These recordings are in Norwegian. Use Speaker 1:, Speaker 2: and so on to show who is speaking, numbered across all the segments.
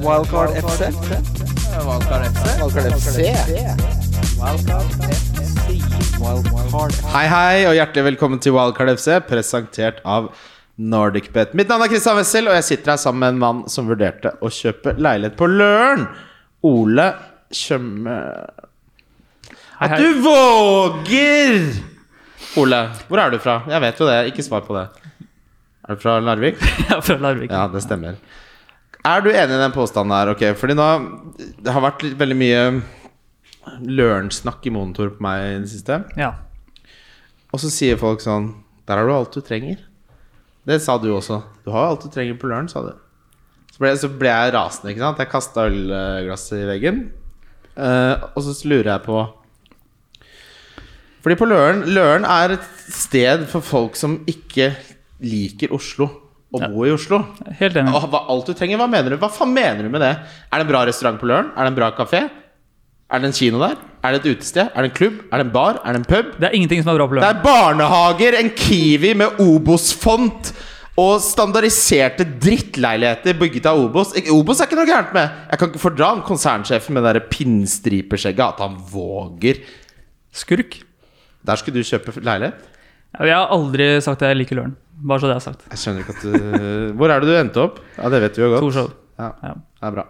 Speaker 1: Wildcard FC.
Speaker 2: Valgkar FC.
Speaker 1: Wildcard FC. Wildcard FC.
Speaker 3: Hei, hei, og hjertelig velkommen til Wildcard FC, presentert av NordicBet. Mitt navn er Kristian Wessel, og jeg sitter her sammen med en mann som vurderte å kjøpe leilighet på Løren. Ole Tjøme... At
Speaker 4: hei.
Speaker 3: du våger! Ole, hvor er du fra? Jeg vet jo det, ikke svar på det. Er du fra Larvik?
Speaker 4: Jeg er fra Larvik.
Speaker 3: Ja, det stemmer. Er du enig i den påstanden her? Ok, fordi nå Det har vært litt- veldig mye Løren-snakk i monitor på meg i det siste.
Speaker 4: Ja.
Speaker 3: Og så sier folk sånn Der har du alt du trenger. Det sa du også. Du har jo alt du trenger på Løren, sa du. Så ble, så ble jeg rasende, ikke sant. Jeg kasta ølglasset i veggen. Eh, og så lurer jeg på Fordi på Løren Løren er et sted for folk som ikke liker Oslo. Å bo i Oslo.
Speaker 4: Helt enig.
Speaker 3: Og hva, alt du trenger, hva mener du? Hva faen mener du med det? Er det en bra restaurant på Løren? Er det en bra kafé? Er det en kino der? Er det et utested? Er det en klubb? Er det en bar? Er det en pub?
Speaker 4: Det er ingenting som er bra på
Speaker 3: Det er
Speaker 4: Løren.
Speaker 3: barnehager, en Kiwi med Obos-font og standardiserte drittleiligheter bygget av Obos. Ik- Obos er ikke noe gærent med. Jeg kan ikke fordra han konsernsjefen med det der pinnstripeskjegget at han våger.
Speaker 4: Skurk.
Speaker 3: Der skulle du kjøpe leilighet?
Speaker 4: Jeg har aldri sagt at jeg liker Løren. Bare så det er sagt.
Speaker 3: Jeg skjønner ikke at du Hvor er det du endte opp? Ja, det vet vi jo godt.
Speaker 4: Torshov.
Speaker 3: Ja,
Speaker 4: Ja.
Speaker 3: det er bra.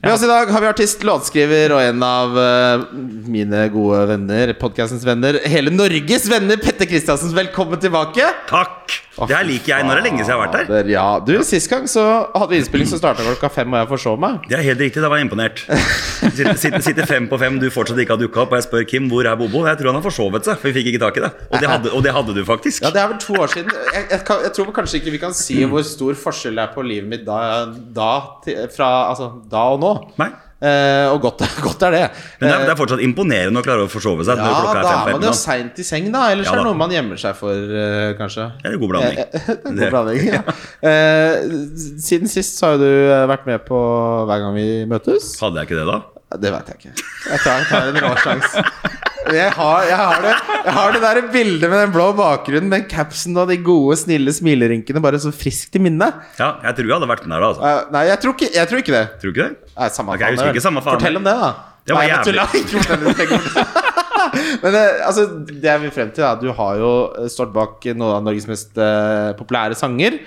Speaker 3: Med oss i dag har vi artist, låtskriver og en av eh, mine gode venner, podcastens venner, hele Norges venner, Petter Kristiansen. Velkommen tilbake.
Speaker 5: Takk! Det her liker jeg. Nå er det lenge siden jeg har vært her.
Speaker 3: Fader, Ja, du, Sist gang så hadde vi innspilling, så starta klokka fem, og jeg forsov meg.
Speaker 5: Det er helt riktig. Da var jeg imponert. Sitter, sitter, sitter fem på fem, du fortsatt ikke har dukka opp, og jeg spør Kim hvor er Bobo. Jeg tror han har forsovet seg, for vi fikk ikke tak i det. Og det hadde, og det hadde du faktisk.
Speaker 3: Ja, Det er vel to år siden. Jeg, jeg, kan, jeg tror kanskje ikke vi kan si hvor stor forskjell det er på livet mitt da, da, til, fra, altså, da og nå.
Speaker 5: Nei.
Speaker 3: Eh, og godt, godt er det.
Speaker 5: Men det er, det er fortsatt imponerende å klare å forsove seg
Speaker 3: Eh, ja,
Speaker 5: når
Speaker 3: da
Speaker 5: klokka er
Speaker 3: er
Speaker 5: fem på
Speaker 3: man jo
Speaker 5: ettermiddagen.
Speaker 3: seint i seng, da. Ellers
Speaker 5: Ja,
Speaker 3: er det
Speaker 5: da.
Speaker 3: noe man gjemmer seg for, eh, kanskje.
Speaker 5: Det er en god
Speaker 3: Eh,
Speaker 5: blanding.
Speaker 3: God blanding, ja. Eh, siden sist så har jo du eh, vært med på Hver gang vi møtes.
Speaker 5: Hadde jeg ikke det da?
Speaker 3: Det vet jeg ikke. Jeg tar, jeg tar en rå sjanse. Jeg har, jeg, har det, jeg har det der bildet med den blå bakgrunnen, den capsen og de gode, snille smilerynkene bare så friskt i minnet.
Speaker 5: Ja, jeg tror jeg hadde vært med der da. Altså.
Speaker 3: Eh, nei, jeg tror ikke, jeg tror ikke det.
Speaker 5: Tror du ikke det?
Speaker 3: Nei, samme
Speaker 5: Ok, jeg husker
Speaker 3: faen,
Speaker 5: ikke samme faen.
Speaker 3: Fortell om det, da.
Speaker 5: Det
Speaker 3: Nei,
Speaker 5: var
Speaker 3: jeg
Speaker 5: jævlig.
Speaker 3: tuller. Ikke fortell det, tenk om det. Men eh, altså, det jeg vil frem til, er at du har jo stått bak noen av Norges mest eh, populære sanger.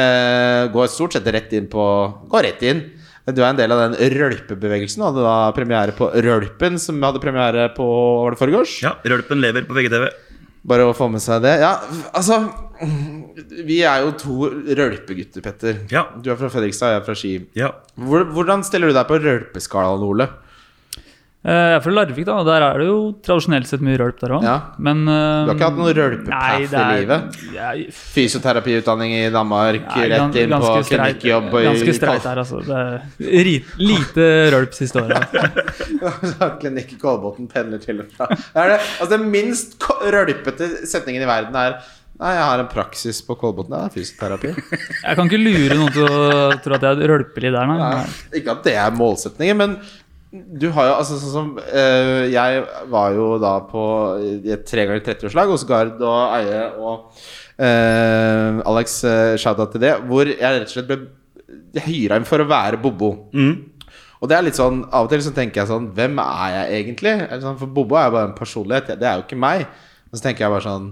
Speaker 3: Eh, går stort sett rett inn på Går rett inn. Du er en del av den rølpebevegelsen. og Hadde da premiere på Rølpen, som hadde premiere på Var det forgårs?
Speaker 5: Ja, Rølpen lever på VGTV.
Speaker 3: Bare å få med seg det. Ja, altså Vi er jo to rølpegutter, Petter.
Speaker 5: Ja.
Speaker 3: Du er fra Fredrikstad, jeg er fra Ski.
Speaker 5: Ja.
Speaker 3: Hvor- Hvordan stiller du deg på rølpeskalaen, Ole?
Speaker 4: Eh, Jeg er fra Larvik, da, og der er det jo tradisjonelt sett mye rølp der òg.
Speaker 3: Ja.
Speaker 4: Men eh,
Speaker 3: Du har ikke hatt noe rølpepaff i livet?
Speaker 4: livet?
Speaker 3: Fysioterapiutdanning i Danmark, rett inn på klinikkjobb og i-
Speaker 4: Ganske streit der, altså. Det er rit- lite rølp siste året.
Speaker 3: Klinikk i Kolbotn pendler til og fra. Det er det, altså den minst ko- rølpete setningen i verden er Nei, jeg har en praksis på Kolbotn. Det er fysioterapi.
Speaker 4: Jeg kan ikke lure noen til å tro at jeg rølper litt der, nei.
Speaker 3: Nei, Ikke at det er målsetningen, men du har jo altså sånn som eh, Jeg var jo da på i et tre ganger 30-årslag hos Gard og Eie og eh, Alex, uh, shout-out til det, hvor jeg rett og slett ble hyra inn for å være Bobo. Og det er litt sånn, Av og til så tenker jeg sånn Hvem er jeg egentlig? Eller sånn, For Bobo er jo bare en personlighet. Det er jo ikke meg. Men så tenker jeg bare sånn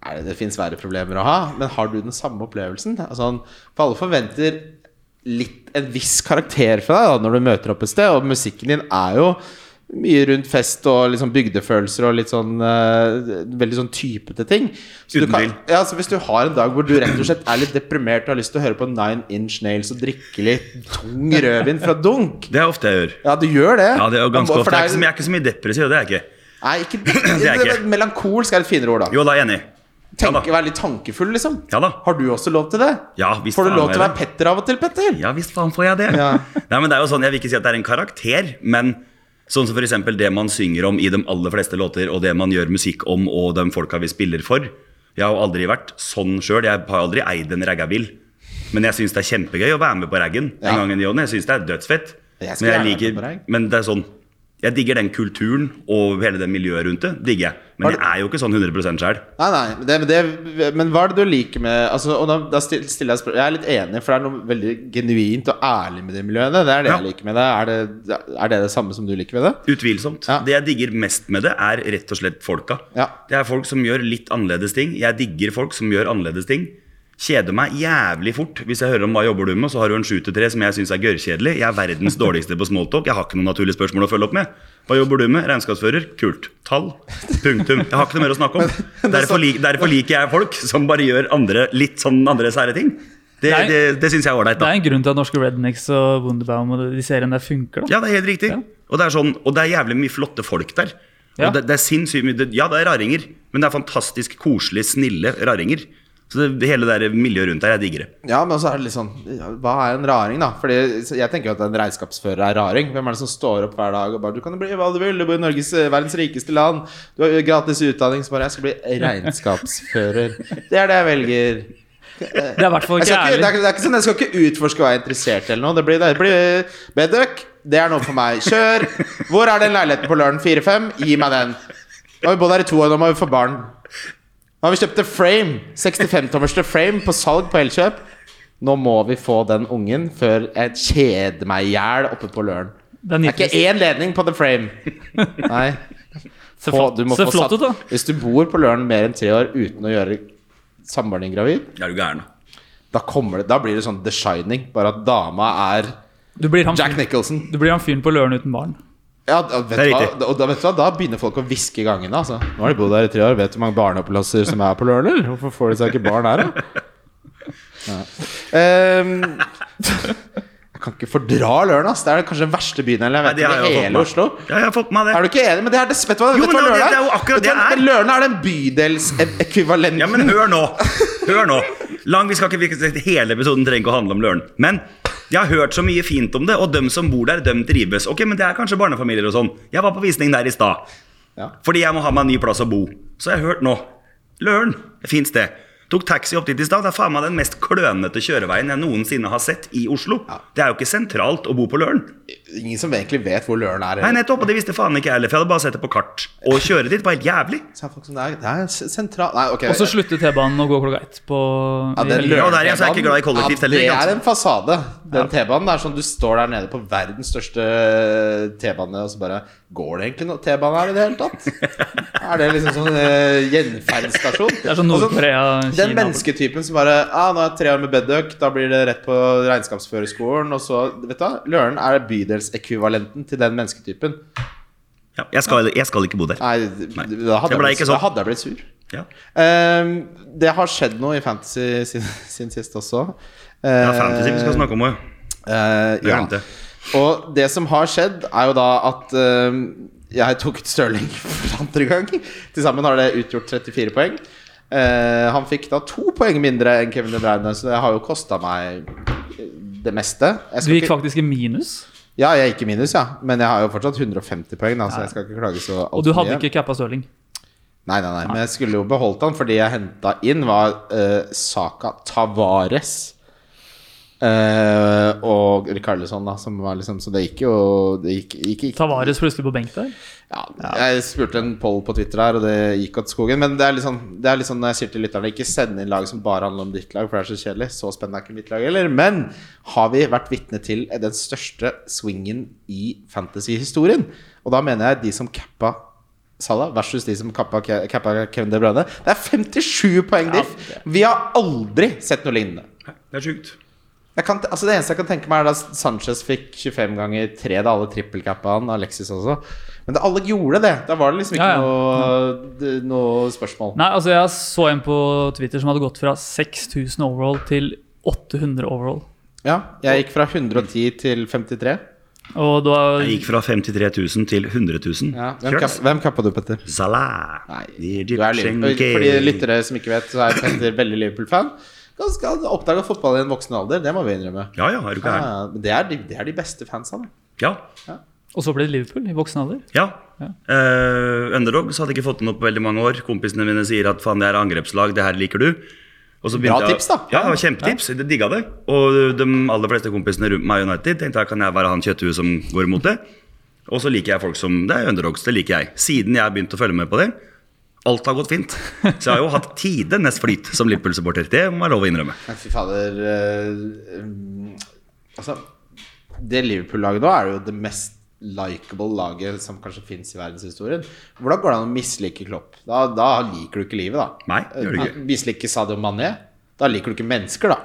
Speaker 3: er det, det finnes verre problemer å ha, men har du den samme opplevelsen? Altså, han- for alle forventer litt en viss karakter fra deg da, når du møter opp et sted, og musikken din er jo mye rundt fest og liksom bygdefølelser og litt sånn eh, veldig sånn typete ting. Så du
Speaker 5: Uten
Speaker 3: kan,
Speaker 5: tvil.
Speaker 3: ja, så hvis du har en dag hvor du rett og slett er litt deprimert og har lyst til å høre på Nine Inch Nails og drikke litt tung rødvin fra dunk
Speaker 5: Det er ofte jeg gjør.
Speaker 3: Ja, du gjør det.
Speaker 5: Ja, det er jo ganske
Speaker 3: For
Speaker 5: ofte. Jeg er
Speaker 3: det
Speaker 5: ikke så mye- jeg er ikke så mye depressiv, det er jeg ikke.
Speaker 3: Nei, ikke,
Speaker 5: er jeg ikke.
Speaker 3: Melankolsk er et finere ord, da.
Speaker 5: Jo, da er jeg enig. Ja da.
Speaker 3: Tenke, være litt tankefull, liksom.
Speaker 5: Ja da.
Speaker 3: Har du også lov til det?
Speaker 5: Ja, visst
Speaker 3: Får du
Speaker 5: faen
Speaker 3: lov
Speaker 5: meg
Speaker 3: til å være
Speaker 5: det.
Speaker 3: Petter av og til, Petter?
Speaker 5: Ja visst faen får jeg det.
Speaker 3: Ja.
Speaker 5: Nei, men det er jo sånn, Jeg vil ikke si at det er en karakter, men sånn som f.eks. det man synger om i de aller fleste låter, og det man gjør musikk om, og de folka vi spiller for. Jeg har jo aldri vært sånn sjøl. Jeg har aldri eid en raggabil. Men jeg syns det er kjempegøy å være med på raggen
Speaker 3: Ja.
Speaker 5: en gang i ny og ne. Jeg syns det er dødsfett.
Speaker 3: Jeg skulle
Speaker 5: men, jeg
Speaker 3: gjerne vært med på
Speaker 5: liker,
Speaker 3: ragg.
Speaker 5: men det er sånn Jeg digger den kulturen og hele det miljøet rundt det. digger jeg Men
Speaker 3: Har du-
Speaker 5: jeg er jo ikke sånn 100 sjøl.
Speaker 3: Nei, nei, men det, men det, men hva er det du liker med altså, Og da, da still- stiller jeg spørsmål Jeg er litt enig, for det er noe veldig genuint og ærlig med de miljøene. Det er det
Speaker 5: Ja.
Speaker 3: jeg liker med det. Er det. Er det det samme som du liker med det?
Speaker 5: Utvilsomt.
Speaker 3: Ja.
Speaker 5: Det jeg digger mest med det, er rett og slett folka.
Speaker 3: Ja.
Speaker 5: Det er folk som gjør litt annerledes ting. Jeg digger folk som gjør annerledes ting. Kjeder meg jævlig fort. Hvis jeg hører om hva jobber du med, så har du en 7-3 som jeg syns er gørrkjedelig. Jeg er verdens dårligste på smalltalk. Jeg har ikke noen naturlige spørsmål å følge opp med. Hva jobber du med? Regnskapsfører? Kult. Tall. Punktum. Jeg har ikke noe mer å snakke om. Derfor, lik, derfor liker jeg folk som bare gjør andre, litt sånn andre sære ting. Det,
Speaker 4: Nei.
Speaker 5: det, det syns jeg er ålreit,
Speaker 4: Det
Speaker 5: da.
Speaker 4: er en grunn til at norske Rednecks og Wunderbaum og de seriene der funker. da
Speaker 5: Ja, det er helt riktig. Og, det er sånn, og det er jævlig mye flotte folk der.
Speaker 4: Ja.
Speaker 5: Og det, det er sinnssykt mye det- Ja, det er raringer, men det er fantastisk koselige, snille raringer. Så det, hele det der miljøet rundt der, jeg digger det.
Speaker 3: Ja, men så er det litt sånn ja, Hva er en raring, da? Fordi jeg tenker jo at en regnskapsfører er raring. Hvem er det som står opp hver dag og bare Du kan jo bli hva du vil, du bor i Norges, eh, verdens rikeste land, du har gratis utdanning, så bare Jeg skal bli regnskapsfører. Det er det jeg velger.
Speaker 4: Det er i hvert fall
Speaker 3: Jeg skal ikke,
Speaker 4: ikke
Speaker 3: det, er,
Speaker 4: ærlig.
Speaker 3: ikke- det er ikke sånn, jeg skal ikke utforske hva jeg er interessert i eller noe. Det blir, det blir Bedøk, det er noe for meg. Kjør! Hvor er den leiligheten på Løren 4-5? Gi meg den. Nå har vi bodd her i to år, nå må vi få barn. Nå har vi kjøpt The Frame. 65-tommers The Frame på salg på Elkjøp. Nå må vi få den ungen før jeg kjeder meg i hjel oppe på Løren. Det
Speaker 4: Det er
Speaker 3: er ikke
Speaker 4: nitrist.
Speaker 3: én ledning på The Frame. Nei.
Speaker 4: Se
Speaker 3: Få-
Speaker 4: flott,
Speaker 3: du må
Speaker 4: se
Speaker 3: få
Speaker 4: flott ut, da.
Speaker 3: satt- Hvis du bor på Løren mer enn tre år uten å gjøre samboeren din gravid
Speaker 5: Det er du gæren.
Speaker 3: da, kommer det, da blir det sånn The Shining, bare at dama er
Speaker 4: Du blir han,
Speaker 3: Jack
Speaker 4: fyren-
Speaker 3: Nicholson.
Speaker 4: du blir han fyren på Løren uten barn.
Speaker 3: Ja, da- vet
Speaker 5: Det er
Speaker 3: du hva,
Speaker 5: riktig.
Speaker 3: og da, vet du hva, da begynner folk å hviske i gangene. Altså. Nå har de bodd her i tre år, vet du hvor mange barneplasser som er på Løren? Hvorfor får de seg ikke barn her, da? Ja. Ehm, jeg kan ikke fordra Løren, ass. Det er kanskje den verste bydelen jeg
Speaker 5: Nei,
Speaker 3: vet om i
Speaker 5: fått
Speaker 3: hele
Speaker 5: med.
Speaker 3: Oslo.
Speaker 5: Ja, jeg har fått med
Speaker 3: Er
Speaker 5: det.
Speaker 3: du ikke enig? Men det er det, vet du hva,
Speaker 5: Jo,
Speaker 3: vet du hva
Speaker 5: men det-
Speaker 3: Løren
Speaker 5: det er jo
Speaker 3: er?
Speaker 5: akkurat
Speaker 3: Vet du hva,
Speaker 5: det er.
Speaker 3: Løren er den eh, bydelsekvivalenten.
Speaker 5: Ja, men hør nå. Hør nå. Lang, vi skal ikke, vi skal- hele episoden trenger ikke å handle om Løren. Men jeg har hørt så mye fint om det, og dem som bor der, dem trives. Ok, men det er kanskje barnefamilier og sånn. Jeg var på visning der i stad.
Speaker 3: Ja.
Speaker 5: Fordi jeg må ha meg en ny plass å bo. Så jeg har hørt nå. Løren. Et fint sted. Tok taxi opp dit i stad. Det er faen meg den mest klønete kjøreveien jeg noensinne har sett i Oslo. Det er jo ikke sentralt å bo på Løren.
Speaker 3: Ingen som egentlig vet hvor Løren er.
Speaker 5: Nei, nettopp. Og det visste faen ikke jeg heller, for jeg hadde bare sett det på kart. Og kjøre dit var helt jævlig.
Speaker 3: Så er folk som, det er, det er sentral... Nei, ok.
Speaker 4: Og så slutter T-banen å gå klokka ett på
Speaker 3: Ja, den
Speaker 5: Ja, og der igjen så er jeg ikke glad i
Speaker 3: Løren-T-banen,
Speaker 5: kollektivt heller, ikke
Speaker 3: Det
Speaker 5: sant?
Speaker 3: er en fasade. Den T-banen det er sånn du står der nede på verdens største eh, T-bane, og så bare Går det egentlig noe T-bane her i det hele tatt? er det liksom sånn uh, gjenferdsstasjon?
Speaker 4: Det er sånn
Speaker 3: Og så-
Speaker 4: Nord-Korea,
Speaker 3: Den
Speaker 4: Kina.
Speaker 3: mennesketypen som bare ah, 'Nå er jeg tre år med Bedøk, da blir det rett på regnskapsførerskolen', og så Vet du hva? Løren er bydelsekvivalenten til den mennesketypen.
Speaker 5: Ja, jeg, skal, jeg skal ikke bo der.
Speaker 3: Nei,
Speaker 5: Nei.
Speaker 3: Da, hadde
Speaker 5: Det
Speaker 3: jeg
Speaker 5: ble
Speaker 3: blitt,
Speaker 5: ikke
Speaker 3: da
Speaker 5: sånn.
Speaker 3: hadde jeg blitt sur.
Speaker 5: Ja.
Speaker 3: Ehm, det har skjedd noe i Fantasy sin, sin sist også.
Speaker 5: Ja, fantasy vi skal snakke om òg.
Speaker 3: Eh,
Speaker 5: Jeg
Speaker 3: ja.
Speaker 5: glemte.
Speaker 3: Og det som har skjedd, er jo da at eh, jeg tok ut Stirling for andre gang. Til sammen har det utgjort 34 poeng. Eh, han fikk da to poeng mindre enn Kevin De Bruyne, så det har jo kosta meg eh, det meste. Jeg
Speaker 4: Du
Speaker 3: skal
Speaker 4: gikk
Speaker 3: ikke,
Speaker 4: faktisk i minus,
Speaker 3: ja, jeg gikk i minus, ja. Men jeg har jo fortsatt 150 poeng, da, så jeg skal ikke klage så
Speaker 4: og
Speaker 3: altfor
Speaker 4: du hadde ikke cappa Stirling.
Speaker 3: Nei, nei, nei, men jeg skulle jo beholdt han fordi jeg henta inn var eh, Saka Tavares. Eh, og Rikarlison, da, som var liksom Så det gikk jo Det gikk, gikk, gikk
Speaker 4: Tavares plutselig på benk der.
Speaker 3: ja, Jeg spurte en poll på Twitter her, og det gikk åt skogen. Men det er litt sånn, det er litt sånn når jeg sier til lytterne ikke send inn lag som bare handler om ditt lag, for det er så kjedelig. Så spennende er ikke mitt lag heller. Men har vi vært vitne til den største swingen i fantasy-historien? Og da mener jeg de som cappa Salah versus de som kappa, Ke- cappa Kevin De Bruyne. Det er 57 poeng diff! Vi har aldri sett noe lignende.
Speaker 5: Det er sjukt.
Speaker 3: Jeg kan, altså det eneste jeg kan tenke meg, er da Sanchez fikk 25 ganger 3 da alle trippelkappa han. Alexis også. Men da alle gjorde det. Da var det liksom ikke
Speaker 4: Ja, ja.
Speaker 3: Noe, d- noe spørsmål.
Speaker 4: Nei, altså jeg så en på Twitter som hadde gått fra 6000 overall til 800 overall.
Speaker 3: Ja, jeg gikk fra 110 til 53.
Speaker 4: Og da
Speaker 5: Jeg gikk fra 53 000 til 100 000.
Speaker 3: Ja. Hvem, kapp, hvem kappa du, Petter?
Speaker 5: Salah.
Speaker 3: Nei,
Speaker 5: The
Speaker 3: du er
Speaker 5: Egyptian
Speaker 3: Liverpool.
Speaker 5: king.
Speaker 3: For de lyttere som ikke vet, så er Petter veldig Liverpool-fan. Ganske oppdaga fotball i en voksen alder, det må vi innrømme.
Speaker 5: Ja, ja, er du
Speaker 3: Ja,
Speaker 5: gæren.
Speaker 3: men det, er de, det er de beste fansa. da.
Speaker 5: Ja.
Speaker 4: Og så ble det Liverpool i voksen alder.
Speaker 5: ja. Eh, underdogs hadde ikke fått den opp på veldig mange år. Kompisene mine sier at faen, det her er angrepslag, det her liker du. Og så
Speaker 3: Bra
Speaker 5: begynte jeg-
Speaker 3: tips, da.
Speaker 5: Ja, det var kjempetips. Jeg digga det. Og de aller fleste kompisene rundt meg i United tenkte her kan jeg være han kjøtthuet som går imot det. Og så liker jeg folk som Det er underdogs, det liker jeg. Siden jeg har begynt å følge med på det, alt har gått fint. Så jeg har jo hatt tidenes flyt som Liverpool-supporter. Det må jeg lov å innrømme.
Speaker 3: Men fy fader eh, um, Altså, det Liverpool-laget nå er jo det mest likeable laget som kanskje fins i verdenshistorien. Hvordan går det an å mislike Klopp? Da, da liker du ikke livet, da.
Speaker 5: Nei, det gjør du ikke.
Speaker 3: Eh, Mislike Sadio Mané? Da liker du ikke mennesker, da.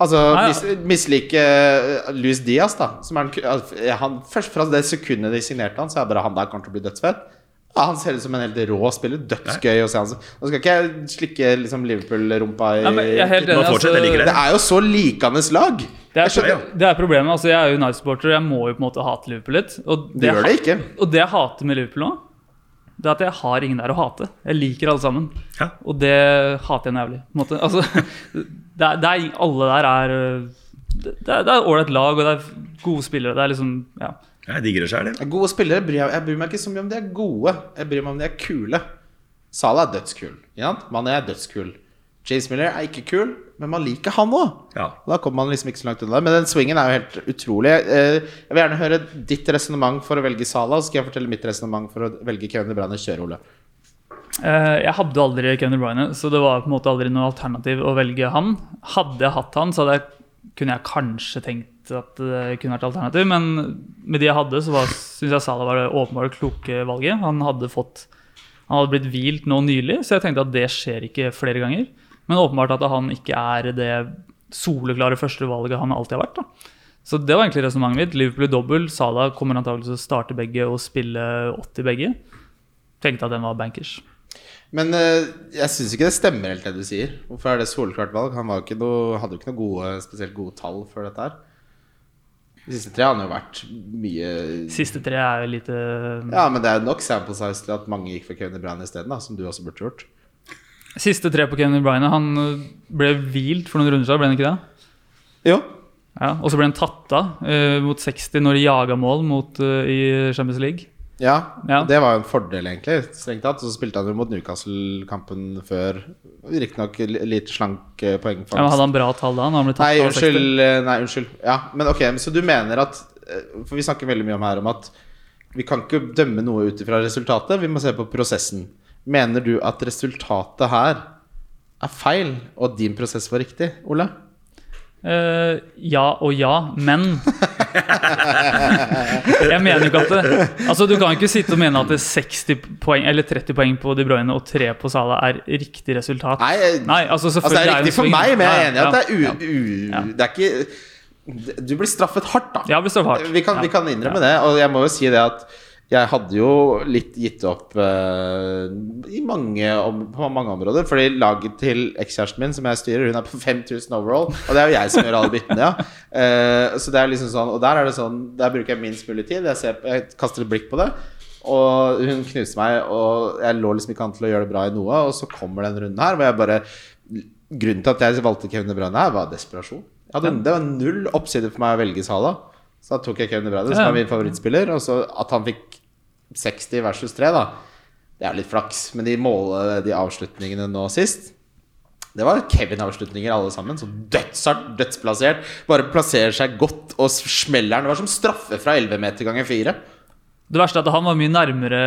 Speaker 3: Altså,
Speaker 4: Nei, ja.
Speaker 3: mis, mislike eh, Luis Diaz, da. Som er, den ku- al- han, først fra det sekundet de signerte han, så er bare han der kommer til å bli dødsfett. Ja, han ser ut som en helt rå spiller. Dødsgøy å se han. Nå skal ikke jeg slikke liksom, Liverpool-rumpa i
Speaker 4: Nei, men jeg er helt
Speaker 5: Nå
Speaker 4: enig. altså,
Speaker 5: fortsetter jeg like
Speaker 3: det er jo så likende lag.
Speaker 4: Det er,
Speaker 3: Jeg skjønner.
Speaker 4: det er problemet. altså Jeg er jo United-supporter, og jeg må jo på en måte hate Liverpool litt. Og
Speaker 3: Du gjør det
Speaker 4: jeg
Speaker 3: ikke.
Speaker 4: hat- Og det jeg hater med Liverpool nå, det er at jeg har ingen der å hate. Jeg liker alle sammen.
Speaker 5: Ja.
Speaker 4: Og det hater jeg noe jævlig. På en måte. Altså, det er, det er, alle der er øh, Det det er det er ålreit lag, og det er gode spillere. Det er liksom ja.
Speaker 5: Jeg digger det sjøl, jeg.
Speaker 3: Gode spillere bryr jeg, jeg bryr meg ikke så mye om de er gode. Jeg bryr meg om de er kule. Salah er dødskul. ikke sant? Mané er dødskul. James Miller er ikke kul, men man liker han òg.
Speaker 5: Ja.
Speaker 3: Da kommer man liksom ikke så langt unna. Men den swingen er jo helt utrolig. Eh, Jeg vil gjerne høre ditt resonnement for å velge Salah, og så skal jeg fortelle mitt resonnement for å velge Kevin De Bruyne. Kjør, Ole.
Speaker 4: Eh, Jeg hadde aldri Kevin De Bruyne, så det var på en måte aldri noe alternativ å velge han. Hadde jeg hatt han, så hadde jeg, kunne jeg kanskje tenkt at det kunne vært alternativ, men med de jeg hadde, så syns jeg Salah var det åpenbart kloke valget. Han hadde fått han hadde blitt hvilt nå nylig, så jeg tenkte at det skjer ikke flere ganger. Men åpenbart at han ikke er det soleklare førstevalget han alltid har vært. da. Så det var egentlig resonnementet mitt. Liverpool i dobbel. Salah kommer antakeligvis til å starte begge og spille 80 begge. Tenkte at den var bankers.
Speaker 3: Men eh, jeg syns ikke det stemmer helt det du sier. Hvorfor er det soleklart valg? Han var jo ikke noe, hadde jo ikke noe gode, spesielt gode tall før dette her. De siste tre har han jo vært mye
Speaker 4: Siste tre er jo lite
Speaker 3: Ja, men det er jo nok sample size til at mange gikk for Kevin De Bruyne isteden, da, som du også burde gjort.
Speaker 4: eh, Siste tre på Kevin Bryne. Han øh, ble hvilt for noen runder siden, ble han ikke det?
Speaker 3: Jo.
Speaker 4: Ja, Og så ble han tatt av øh, mot 60 når de jaga mål mot, øh, i Champions League.
Speaker 3: Ja,
Speaker 4: Ja.
Speaker 3: det var jo en fordel, egentlig. Strengt tatt. Så spilte han jo mot Newcastle-kampen før. Riktignok litt slank eh, poengfangst.
Speaker 4: Ja, men hadde han bra tall da? Når han ble tatt
Speaker 3: Nei,
Speaker 4: av 60?
Speaker 3: unnskyld. eh, Nei, unnskyld. Ja, men ok, men Så du mener at eh, For vi snakker veldig mye om her om at vi kan ikke dømme noe ut ifra resultatet, vi må se på prosessen. Mener du at resultatet her er feil, og din prosess var riktig, Ole?
Speaker 4: Eh, ja og ja, men Jeg mener jo ikke at det, Altså Du kan ikke sitte og mene at det er 60 poeng eller 30 poeng på De Bruyne og 3 på Salah er riktig resultat.
Speaker 3: Nei, eh,
Speaker 4: Nei, altså
Speaker 3: altså det er
Speaker 4: selvfølgelig jo en
Speaker 3: riktig for
Speaker 4: sving.
Speaker 3: meg, men jeg er enig
Speaker 4: Ja,
Speaker 3: i
Speaker 4: ja.
Speaker 3: at det er u... u
Speaker 4: Ja.
Speaker 3: Det er ikke Du blir straffet hardt, da.
Speaker 4: Ja, det blir straffet hardt.
Speaker 3: Vi kan,
Speaker 4: Ja.
Speaker 3: vi kan innrømme det. Og jeg må jo si det at jeg hadde jo litt gitt opp eh, i mange, om, på mange områder. Fordi laget til ekskjæresten min, som jeg styrer, hun er på 5000 overall. Og det er jo jeg som gjør alle byttene, ja. Eh, så det er liksom sånn Og der er det sånn Der bruker jeg minst mulig tid. Jeg, ser, på- jeg kaster et blikk på det. Og hun knuste meg, og jeg lå liksom ikke an til å gjøre det bra i noe. Og så kommer den runden her hvor jeg bare Grunnen til at jeg valgte Kevin De Bruyne her, var desperasjon. Jeg hadde, det var null oppsider for meg å velge Salah. Så da tok jeg Kevin De Bruyne, som
Speaker 4: Ja.
Speaker 3: er min favorittspiller. Og så at han fikk 60 versus 3, da. Det er litt flaks, men de måle de avslutningene nå sist det var Kevin-avslutninger alle sammen. Så dødshardt, dødsplassert. Bare plasserer seg godt og smeller den. Det var som straffe fra 11 meter ganger 4.
Speaker 4: Det verste er at han var mye nærmere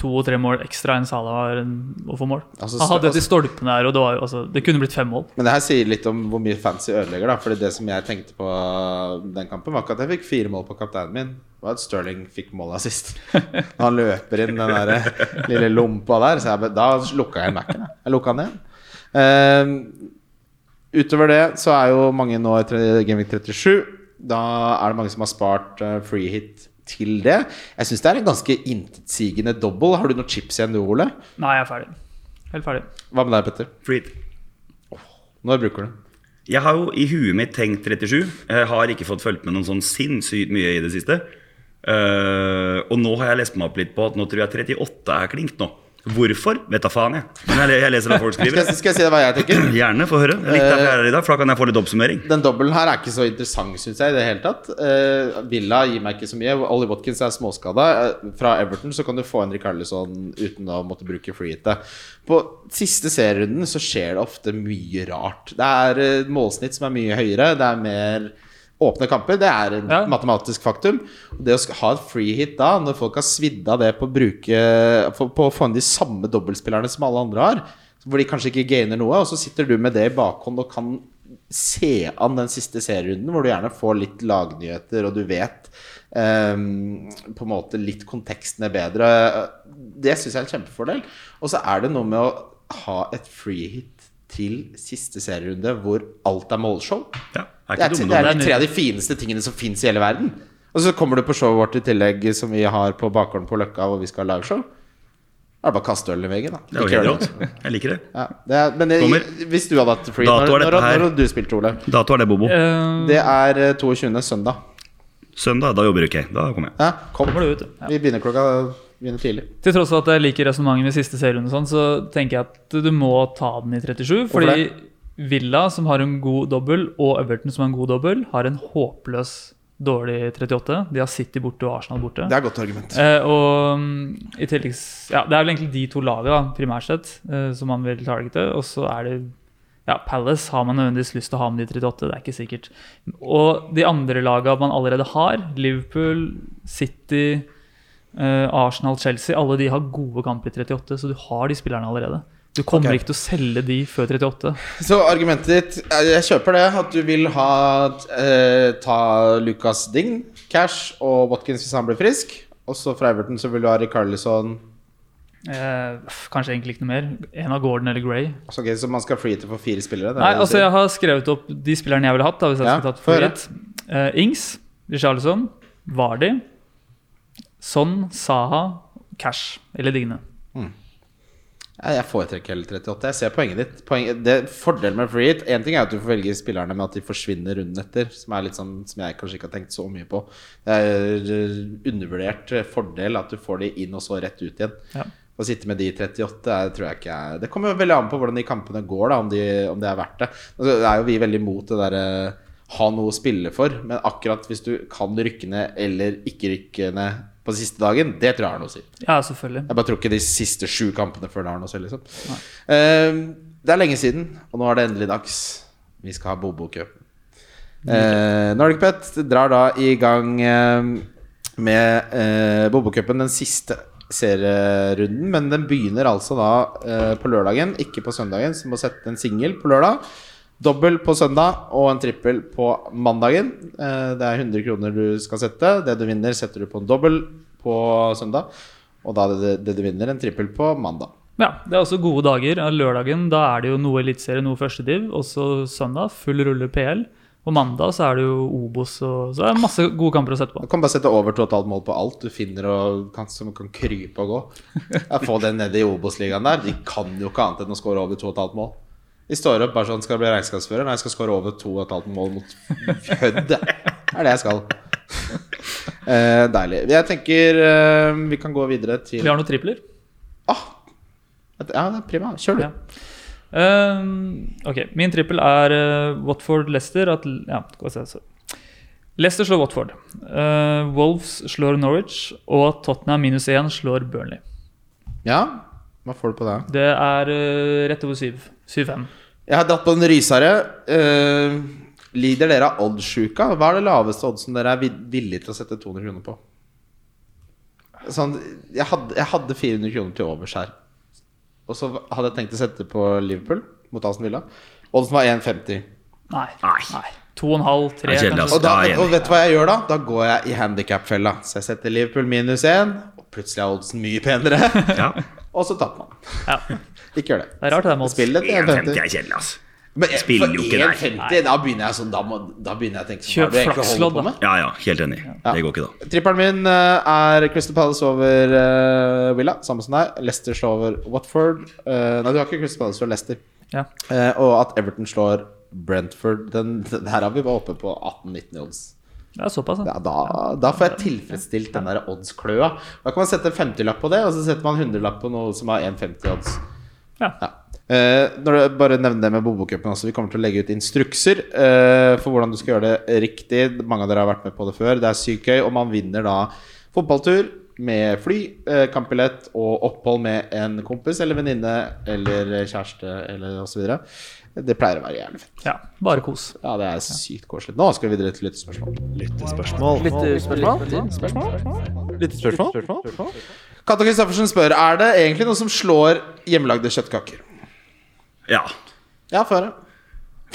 Speaker 4: to og tre mål ekstra enn Salah var enn å få mål.
Speaker 3: Altså,
Speaker 4: han hadde
Speaker 3: altså-
Speaker 4: et i stolpene der, og det, var jo, altså, det kunne blitt fem mål.
Speaker 3: Men det her sier litt om hvor mye fancy ødelegger, da. Fordi det som jeg tenkte på uh, den kampen, var ikke at jeg fikk fire mål på kapteinen min. Det var at Sterling fikk målet sist. Når han løper inn den der eh, lille lompa der. Så jeg, bare- da lukka jeg Mac-en. jeg. Jeg lukka den igjen. Eh, utover det så er jo mange nå i tre- Game Week 37. Da er det mange som har spart eh, free hit til det. Jeg syns det er en ganske intetsigende double. Har du noen chips igjen du, Ole?
Speaker 4: Nei, jeg er ferdig. Helt ferdig.
Speaker 3: Hva med deg, Petter?
Speaker 5: Freed.
Speaker 3: Når bruker du den?
Speaker 5: Jeg har jo i huet mitt tenkt 37. Jeg har ikke fått fulgt med noen sånn sinnssykt mye i det siste. Eh, og nå har jeg lest meg opp litt på at nå tror jeg 38 er klinkt nå. Hvorfor? Vet da faen, jeg. Men jeg, le- jeg leser hva folk
Speaker 3: Skal
Speaker 5: skriver.
Speaker 3: jeg, skal jeg si Eh, deg hva jeg tenker?
Speaker 5: Gjerne få høre. Litt derfor jeg er her i dag, for da kan jeg få litt oppsummering.
Speaker 3: den dobbelen her er ikke så interessant, syns jeg. i det hele tatt Eh, Villa gir meg ikke så mye. Ollie Watkins er småskada. Eh, Fra Everton så kan du få en Rikarlison uten å måtte bruke freehitet. På siste serierunden så skjer det ofte mye rart. Det er eh, målsnitt som er mye høyere. Det er mer åpne kamper. Det er en
Speaker 4: Ja.
Speaker 3: matematisk faktum. Og det å sk- ha et free hit da, når folk har svidd av det på å bruke på, på å få inn de samme dobbeltspillerne som alle andre har, hvor de kanskje ikke gainer noe, og så sitter du med det i bakhånd og kan se an den siste serierunden, hvor du gjerne får litt lagnyheter, og du vet ehm, på en måte litt kontekstene bedre. Det syns jeg er en kjempefordel. Og så er det noe med å ha et free hit til siste serierunde hvor alt er målshow.
Speaker 5: Ja,
Speaker 3: Det
Speaker 5: er ikke
Speaker 3: er,
Speaker 5: dumme
Speaker 3: det er
Speaker 5: noen.
Speaker 4: noe.
Speaker 3: de tre av de fineste tingene som fins i hele verden. Og så kommer du på showet vårt i tillegg, som vi har på bakgården på Løkka, hvor vi skal ha liveshow. Da er det bare å kaste ølen i veggen, da.
Speaker 5: Det er
Speaker 3: Ikke
Speaker 5: jo helt
Speaker 3: gjør det.
Speaker 5: rått. Jeg liker det.
Speaker 3: Ja, det er, men jeg,
Speaker 5: Kommer.
Speaker 3: hvis du hadde hatt free
Speaker 5: Dato er
Speaker 3: når, når,
Speaker 5: dette
Speaker 3: når,
Speaker 5: her.
Speaker 3: hadde du spilte, Ole?
Speaker 5: Dato er det, Bobo.
Speaker 4: Eh,
Speaker 3: Det er eh, 22. søndag.
Speaker 5: Søndag, da jobber du ikke. Da kommer jeg.
Speaker 3: Ja, kom.
Speaker 4: kommer det ut. Ja.
Speaker 3: Vi begynner klokka begynner tidlig.
Speaker 4: Til tross for at jeg liker resonnementet med siste serierunde, og sånn, så tenker jeg at du må ta den i 37. Fordi Villa, som har en god dobbel, og Everton, som har en god dobbel, har en håpløs dårlig 38. De har City borte og Arsenal borte.
Speaker 3: Det er et godt argument.
Speaker 4: Eh, og mm, i tillegg s- ja, Det er vel egentlig de to lagene, da, primært sett, eh, som man vil targete. Og så er det ja, Palace har man nødvendigvis lyst til å ha med de 38, det er ikke sikkert. Og de andre lagene man allerede har, Liverpool, City, eh, Arsenal, Chelsea, alle de har gode kamper i 38, så du har de spillerne allerede. Du kommer
Speaker 3: Ok.
Speaker 4: ikke til å selge de før 38.
Speaker 3: Så argumentet ditt eh, Jeg kjøper det. At du vil ha eh, ta Lucas Dign, Cash og Watkins hvis han blir frisk. Og så fra Everton så vil du ha Rikarlison.
Speaker 4: Eh, pff, kanskje egentlig ikke noe mer. En av Gordon eller Gray.
Speaker 3: Så, Altså, ok, så man skal free til for fire spillere? det er
Speaker 4: Nei,
Speaker 3: det du
Speaker 4: altså
Speaker 3: sier.
Speaker 4: jeg har skrevet opp de spillerne jeg ville hatt. da, hvis jeg
Speaker 3: Ja,
Speaker 4: skulle tatt
Speaker 3: få høre.
Speaker 4: favoritt. Eh, Ings, Richarlison, Vardy, Son, Saha, Cash eller Digne.
Speaker 3: Nei, Jeg foretrekker heller 38. Jeg ser poenget ditt. Poeng, det Fordelen med free hit En ting er at du får velge spillerne med at de forsvinner runden etter, som er litt sånn som jeg kanskje ikke har tenkt så mye på. Det er eh, undervurdert fordel at du får de inn og så rett ut igjen.
Speaker 4: Ja.
Speaker 3: Å sitte med de 38 er, tror jeg ikke er Det kommer jo veldig an på hvordan de kampene går, da, om, de, om det er verdt det. Altså, det er jo vi veldig imot det derre ha noe å spille for, men akkurat hvis du kan rykke ned eller ikke rykke ned på siste dagen, det tror jeg har noe å si.
Speaker 4: Ja, selvfølgelig.
Speaker 3: Jeg bare tror ikke de siste sju kampene før det har noe selv, liksom. Ehm, det er lenge siden, og nå er det endelig dags. Vi skal ha Bobo-cup. Eh, Nordic Pet drar da i gang eh, med eh, Bobo-cupen, den siste serierunden. Men den begynner altså da eh, på lørdagen, ikke på søndagen. Så må sette en singel på lørdag. Dobbel på søndag og en trippel på mandagen. Eh, det er 100 kroner du skal sette. Det du vinner, setter du på en dobbel på søndag. Og da er det det du vinner, en trippel på mandag.
Speaker 4: Ja, Det er også gode dager. Ja, Lørdagen da er det jo noe eliteserie, noe førstediv. Også søndag full rulle PL. Og mandag så er det jo Obos. Og, så det er masse gode kamper å sette på.
Speaker 3: Du kan bare sette over 2,5 mål på alt du finner og kan, som kan krype og gå. Ja, få den ned i Obos-ligaen der. De kan jo ikke annet enn å score over 2,5 mål. De står opp bare sånn Skal jeg bli regnskapsfører? Nei, jeg skal score over 2,5 mål mot Hødd. Det er det jeg skal. Eh, deilig. Jeg tenker eh, vi kan gå videre til
Speaker 4: Vi har noen tripler.
Speaker 3: ah, Ja, det er prima. Kjør, du.
Speaker 4: Ja. Ehm, ok, min trippel er eh, Watford-Leicester at, ja, hva skal jeg si? Leicester slår Watford. eh, Wolves slår Norwich. Og at Tottenham minus 1 slår Burnley.
Speaker 3: Ja, hva får du på det?
Speaker 4: Det er eh, rett over 7. 7-5.
Speaker 3: Jeg har dratt på en rysere. Eh, lider dere av oddsjuka? Hva er det laveste oddsen dere er vid- villig til å sette 200 kroner på? Sånn, jeg, hadde, jeg hadde 400 kroner til overs her. Og så hadde jeg tenkt å sette på Liverpool mot Aston Villa. Oddsen var 1,50.
Speaker 4: Nei.
Speaker 5: Nei.
Speaker 4: Nei. 2,5, 3
Speaker 5: Det er kjedelig,
Speaker 4: kanskje.
Speaker 5: altså.
Speaker 3: Og, da,
Speaker 5: Da er jeg enig.
Speaker 3: og vet du hva jeg gjør da? Da går jeg i handikap-fella. Så jeg setter Liverpool minus 1, og plutselig er oddsen mye penere.
Speaker 5: Ja.
Speaker 3: og så taper man.
Speaker 4: Ja.
Speaker 3: Ikke gjør det.
Speaker 4: Det er rart det der med odds.
Speaker 3: Spill det til
Speaker 5: 1,50
Speaker 3: 1,50.
Speaker 5: er kjedelig, altså.
Speaker 3: Men jeg-
Speaker 5: Spiller jo
Speaker 3: for
Speaker 5: ikke der.
Speaker 3: 1,50, da begynner jeg sånn Da, må, da begynner jeg å tenke sånn, hva
Speaker 4: Kjøp
Speaker 3: er det du egentlig holder
Speaker 4: flakslodd,
Speaker 3: på
Speaker 4: da.
Speaker 3: med?
Speaker 5: Ja, ja, helt enig. Det går ikke, da.
Speaker 3: Tripperen min eh, er Crystal Palace over eh, Villa, samme som deg. Leicester slår over Watford. Eh, nei, du har ikke Crystal Palace slår Leicester.
Speaker 4: Ja.
Speaker 3: Eh, og at Everton slår Brentford. Den, den her har vi var oppe på 18-19 i odds.
Speaker 4: Det er såpass, ja.
Speaker 3: Ja, da, da får jeg tilfredsstilt den der oddskløa. Da kan man sette en 50-lapp på det, og så setter man 100-lapp på noe som har 1,50 odds.
Speaker 4: Ja.
Speaker 3: Ja. Eh, når du bare nevner det med Bobokupen også, Vi kommer til å legge ut instrukser eh, for hvordan du skal gjøre det riktig. Mange av dere har vært med på det før. Det er sykt gøy. Og man vinner da fotballtur med fly, uh, kampbillett og opphold med en kompis eller venninne eller kjæreste eller osv. Det pleier å være jævlig fett.
Speaker 4: Ja, bare kos.
Speaker 3: Ja, det er sykt koselig. Nå skal vi videre til lyttespørsmål.
Speaker 1: Lyttespørsmål?
Speaker 3: Lyttespørsmål? Katta Kristoffersen spør Er det egentlig noe som slår hjemmelagde kjøttkaker.
Speaker 5: Ja.
Speaker 3: Ja, få høre.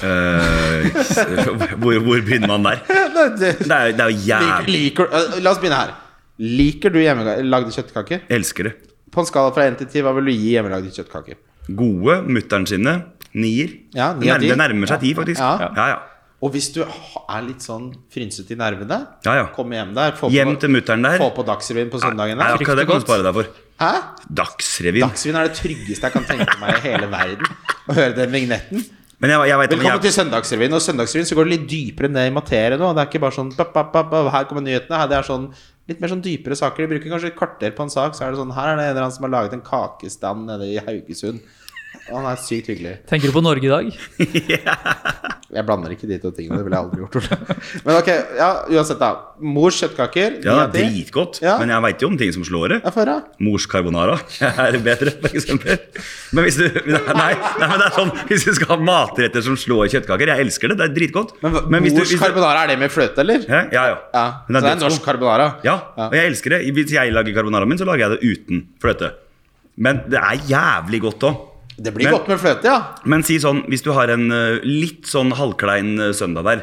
Speaker 5: Eh, hvor, hvor begynner man der?
Speaker 3: Nei, det-
Speaker 5: Det er, det er jo
Speaker 3: Liker,
Speaker 5: jævlig
Speaker 3: liker, eh, la oss begynne her. Liker du hjemmelagde kjøttkaker?
Speaker 5: Jeg elsker det.
Speaker 3: På en skala fra 1 til 10, hva vil du gi hjemmelagde kjøttkaker?
Speaker 5: Gode. Mutter'n sine. Nier.
Speaker 3: Ja, ni
Speaker 5: det,
Speaker 3: av ti.
Speaker 5: nærmer, det nærmer seg ti, faktisk.
Speaker 3: Ja.
Speaker 5: Ja, ja.
Speaker 3: Og hvis du er litt sånn frynsete i nervene,
Speaker 5: Ja, ja.
Speaker 3: kom hjem der. Få
Speaker 5: Hjem
Speaker 3: på,
Speaker 5: til mutter'n der.
Speaker 3: Få på Dagsrevyen på søndagen
Speaker 5: Nei,
Speaker 3: der.
Speaker 5: akkurat det kan du spare deg for.
Speaker 3: Hæ?
Speaker 5: Dagsrevyen.
Speaker 3: Dagsrevyen er det tryggeste jeg kan tenke meg i hele verden. Å høre den vignetten.
Speaker 5: Men jeg, jeg vet,
Speaker 3: Velkommen
Speaker 5: jeg,
Speaker 3: til Søndagsrevyen. Og Søndagsrevyen så går det litt dypere ned i materie nå. Det er ikke bare sånn pap, pap, pap, pap, Her kommer nyhetene. Her, det er sånn litt mer sånn dypere saker. De bruker kanskje et kvarter på en sak, så er det sånn Her er det en eller annen som har laget en kakestand nede i Haugesund. Og han er sykt hyggelig.
Speaker 4: Tenker du på Norge i dag?
Speaker 3: Jeg blander ikke de to tingene. Det ville jeg aldri gjort. Ole. Men ok, ja, uansett, da. Mors kjøttkaker.
Speaker 5: ja,
Speaker 3: ni av ti.
Speaker 5: dritgodt.
Speaker 3: Ja.
Speaker 5: Men jeg veit jo om ting som slår det.
Speaker 3: Ja, få høre.
Speaker 5: Mors carbonara er bedre, for eksempel. Men hvis du Nei, nei, men det er sånn Hvis du skal ha matretter som slår kjøttkaker Jeg elsker det, det er dritgodt.
Speaker 3: Men, hva-
Speaker 5: hvis du-
Speaker 3: mors
Speaker 5: hvis du-
Speaker 3: carbonara, er det med fløte, eller?
Speaker 5: Hæ? Ja, ja.
Speaker 3: Ja,
Speaker 5: Den
Speaker 3: Så det er
Speaker 5: dritgod.
Speaker 3: norsk carbonara?
Speaker 5: Ja, og jeg elsker det. Hvis jeg lager carbonaraen min, så lager jeg det uten fløte. Men det er jævlig godt òg.
Speaker 3: Det blir
Speaker 5: Men-
Speaker 3: godt med fløte, ja.
Speaker 5: Men si sånn, hvis du har en eh, litt sånn halvklein eh, søndag der,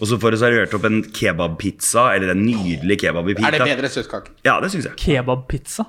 Speaker 5: og så får du servert opp en kebabpizza, eller en nydelig kebab i pita
Speaker 3: Er det bedre enn kjøttkake?
Speaker 5: Ja, det syns jeg.
Speaker 4: Kebabpizza?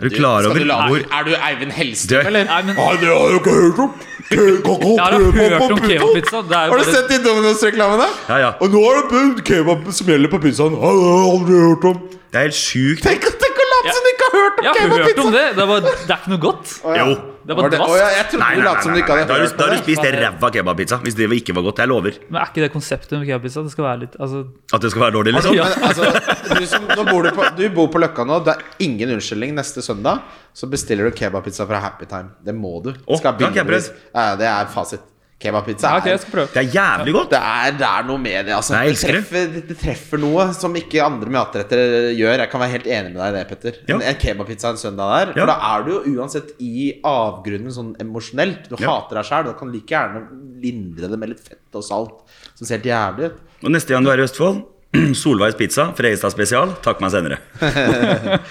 Speaker 5: Er du klar
Speaker 3: Skal
Speaker 5: over
Speaker 3: du la-
Speaker 5: hvor
Speaker 3: Er du Eivind Hellstrøm,
Speaker 5: Du-
Speaker 3: eller?
Speaker 4: Nei, men
Speaker 3: Nei, det har jeg ikke hørt om! Kebab-
Speaker 4: Jeg har hørt om kebabpizza. Det er jo
Speaker 3: Har du
Speaker 4: bare
Speaker 3: sett de Domino's-reklamene?
Speaker 5: Ja, ja.
Speaker 3: Og nå er det kebab som gjelder på pizzaen. Ja, Det har jeg aldri hørt om.
Speaker 5: Det er helt sjukt.
Speaker 3: Tenk, tenk å late som du ikke har hørt om
Speaker 4: Jeg har hørt
Speaker 3: kebabpizza!
Speaker 4: om det. Det er, bare, det er ikke noe godt.
Speaker 5: Jo.
Speaker 4: Det er
Speaker 3: Var
Speaker 4: bare
Speaker 3: det- Å, ja,
Speaker 4: dvask.
Speaker 3: jeg trodde
Speaker 5: Nei,
Speaker 3: du
Speaker 5: nei,
Speaker 3: lot som du
Speaker 5: nei, nei,
Speaker 3: ikke
Speaker 5: nei.
Speaker 3: hadde
Speaker 5: Da har du,
Speaker 3: hørt
Speaker 5: da har du
Speaker 3: om det.
Speaker 5: spist ræva kebabpizza hvis det ikke var godt. Jeg lover.
Speaker 4: Men er ikke det konseptet med kebabpizza? Det skal være litt altså,
Speaker 5: At det skal være dårlig, liksom.
Speaker 4: Ja.
Speaker 3: Men altså, du, som, nå bor du, på, du bor på Løkka nå. Det er ingen unnskyldning. Neste søndag så bestiller du kebabpizza fra Happy Time. Det må du.
Speaker 5: Å,
Speaker 3: Skal
Speaker 5: det har ikke jeg
Speaker 3: begynne- Ja, det er fasit. Kebabpizza
Speaker 4: ja, ok,
Speaker 3: er
Speaker 4: jeg skal prøve.
Speaker 5: Det er jævlig godt.
Speaker 3: det er, det er noe med det, altså.
Speaker 5: Nei, jeg elsker det.
Speaker 3: treffer, det. det treffer noe som ikke andre matretter gjør. Jeg kan være helt enig med deg i det, Petter.
Speaker 5: Ja.
Speaker 3: En, en kebabpizza en søndag der.
Speaker 5: Ja.
Speaker 3: For da er du jo uansett i avgrunnen sånn emosjonelt. Du
Speaker 5: Ja.
Speaker 3: hater deg sjæl. Da kan du like gjerne lindre det med litt fett og salt, som ser helt jævlig ut.
Speaker 5: Og neste gang du er i Østfold, Solveigs pizza, Fredrikstad spesial, takk meg senere.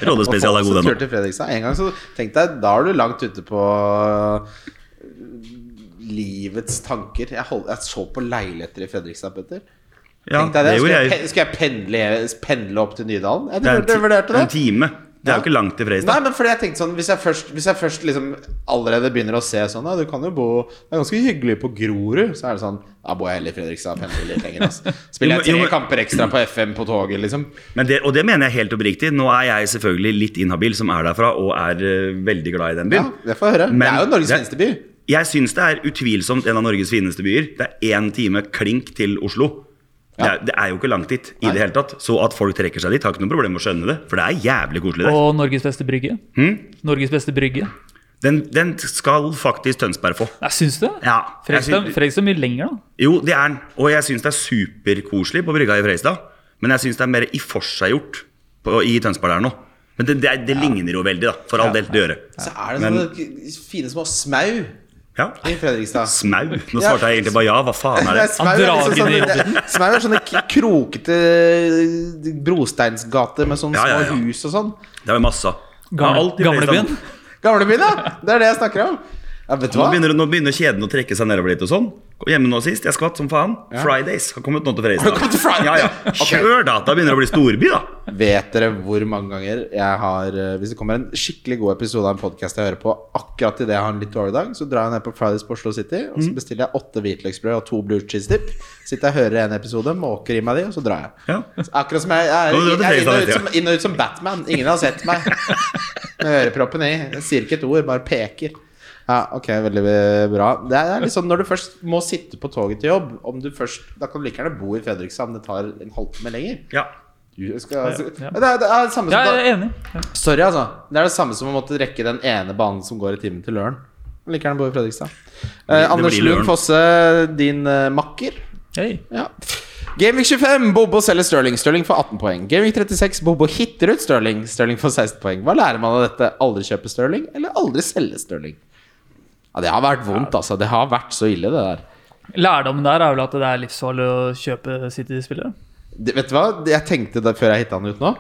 Speaker 5: Rollespesial er god,
Speaker 3: Også
Speaker 5: den
Speaker 3: tur til Fredrikstad. En gang så tenk deg, da er du langt ute på øh, livets tanker. Jeg, hold, jeg så på leiligheter i Fredrikstad, Petter.
Speaker 5: Ja,
Speaker 3: Tenk deg
Speaker 5: det
Speaker 3: det.
Speaker 5: gjorde
Speaker 3: Skal jeg,
Speaker 5: jeg.
Speaker 3: pe- skal jeg pendle, pendle opp til Nydalen? Jeg
Speaker 5: Det er en
Speaker 3: vurderte-
Speaker 5: ti-
Speaker 3: vurderte det.
Speaker 5: en time. Det er jo ikke langt til
Speaker 3: Nei,
Speaker 5: Fredrikstad.
Speaker 3: men fordi jeg tenkte sånn Hvis jeg først, hvis jeg først liksom allerede begynner å se sånn Ja, du kan jo bo Det er ganske hyggelig på Grorud. Så er det sånn Da bor jeg heller i Fredrikstad. Pendler litt lenger, ass. Spiller jeg
Speaker 5: Jo, men- jo,
Speaker 3: tre kamper
Speaker 5: men-
Speaker 3: ekstra på FM på toget, liksom.
Speaker 5: Men det, og det mener jeg helt oppriktig. Nå er jeg selvfølgelig litt inhabil, som er derfra, og er eh, veldig glad i den
Speaker 3: Ja,
Speaker 5: byen.
Speaker 3: det får jeg høre.
Speaker 5: Men
Speaker 3: det er jo Norges
Speaker 5: det-
Speaker 3: fineste by.
Speaker 5: Jeg syns det er utvilsomt en av Norges fineste byer. Det er én time klink til Oslo. Det, er, det er jo ikke langt dit i det hele tatt. Så at folk trekker seg dit, har ikke noe problem med å skjønne det. For det er jævlig koselig der.
Speaker 4: Og Norges beste brygge.
Speaker 5: Hm?
Speaker 4: Norges beste brygge.
Speaker 5: Den, den skal faktisk Tønsberg få.
Speaker 4: Nei, syns du det?
Speaker 5: Ja, jeg
Speaker 4: Fredrikstad
Speaker 5: syns-
Speaker 4: Fredrikstad er mye lenger, da.
Speaker 5: Jo, det er den. Og jeg syns det er superkoselig på brygga i Fredrikstad. Men jeg syns det er mer iforseggjort på- i Tønsberg der nå. Men det, det, er- det ligner jo veldig, da. For all del, det gjør det.
Speaker 3: Så er det
Speaker 5: Men-
Speaker 3: sånne k- fine små smau i
Speaker 5: Ja.
Speaker 3: Fredrikstad.
Speaker 5: Smau. Nå svarte jeg egentlig bare ja. Hva faen
Speaker 3: Nei,
Speaker 5: er det?
Speaker 3: smau er liksom
Speaker 4: drar inn i
Speaker 3: sånne, det, smau er sånne k- krokete brosteinsgater med sånne
Speaker 5: Ja, ja, ja.
Speaker 3: små hus og sånn.
Speaker 5: Det er jo masse av.
Speaker 4: Gamle-
Speaker 5: Alt i Fredrikstad.
Speaker 4: Gamlebyen?
Speaker 3: Gamlebyen, ja! Det er det jeg snakker om. Ja, vet du
Speaker 5: Nå
Speaker 3: hva?
Speaker 5: begynner, nå begynner kjeden å trekke seg nedover litt og sånn. Og Hjemme nå sist, jeg skvatt som faen. Fridays har kommet nå til
Speaker 3: Har det kommet til
Speaker 5: Fredrikstad.
Speaker 3: Fridays?
Speaker 5: Ja, ja. Kjør, da! Da begynner det å bli storby, da.
Speaker 3: Vet dere hvor mange ganger jeg har eh, Hvis det kommer en skikkelig god episode av en podkast jeg hører på akkurat idet jeg har en litt dårlig dag, så drar jeg ned på Fridays på Oslo City, og så bestiller jeg åtte hvitløksbrød og to blue cheese dip. Sitter jeg og hører en episode, måker i meg de, og så drar jeg.
Speaker 5: Ja.
Speaker 3: Akkurat som jeg, jeg,
Speaker 5: Nå drar
Speaker 3: er-
Speaker 5: du
Speaker 3: jeg
Speaker 5: til
Speaker 3: er inn og, ut
Speaker 5: Fredrikstad,
Speaker 3: som, inn og ut som Batman. Ingen har sett meg. Med øreproppen i. Jeg sier ikke et ord, bare peker. Ja, ok, veldig bra. Det er, det er litt sånn når du først må sitte på toget til jobb om du først, Da kan du like gjerne bo i Fredrikstad, men det tar en halvtime lenger.
Speaker 5: ja.
Speaker 3: Du skal, altså,
Speaker 4: Ja, ja.
Speaker 3: Men Det, er, det er det samme som
Speaker 4: Ja, jeg er enig. Ja.
Speaker 3: Sorry, altså. Det er det samme som å måtte rekke den ene banen som går i timen til Løren. Jeg Liker gjerne bo i Fredrikstad. Eh,
Speaker 5: Det
Speaker 3: Anders
Speaker 5: blir
Speaker 3: Lund
Speaker 5: Løren.
Speaker 3: Fosse, din eh, makker.
Speaker 4: Hei.
Speaker 3: Ja. Gamevik 25, Bobo selger Stirling. Stirling får 18 poeng. Gamevik 36, Bobo hitter ut Stirling. Stirling får 16 poeng. Hva lærer man av dette? Aldri kjøpe Stirling, eller aldri selge Stirling? Ja, det har vært vondt, altså. Det har vært så ille, det der.
Speaker 4: Lærdommen der er vel at det er livsfarlig å kjøpe City-spillere.
Speaker 3: Det, vet du hva? Jeg tenkte det før jeg hitta han ut nå.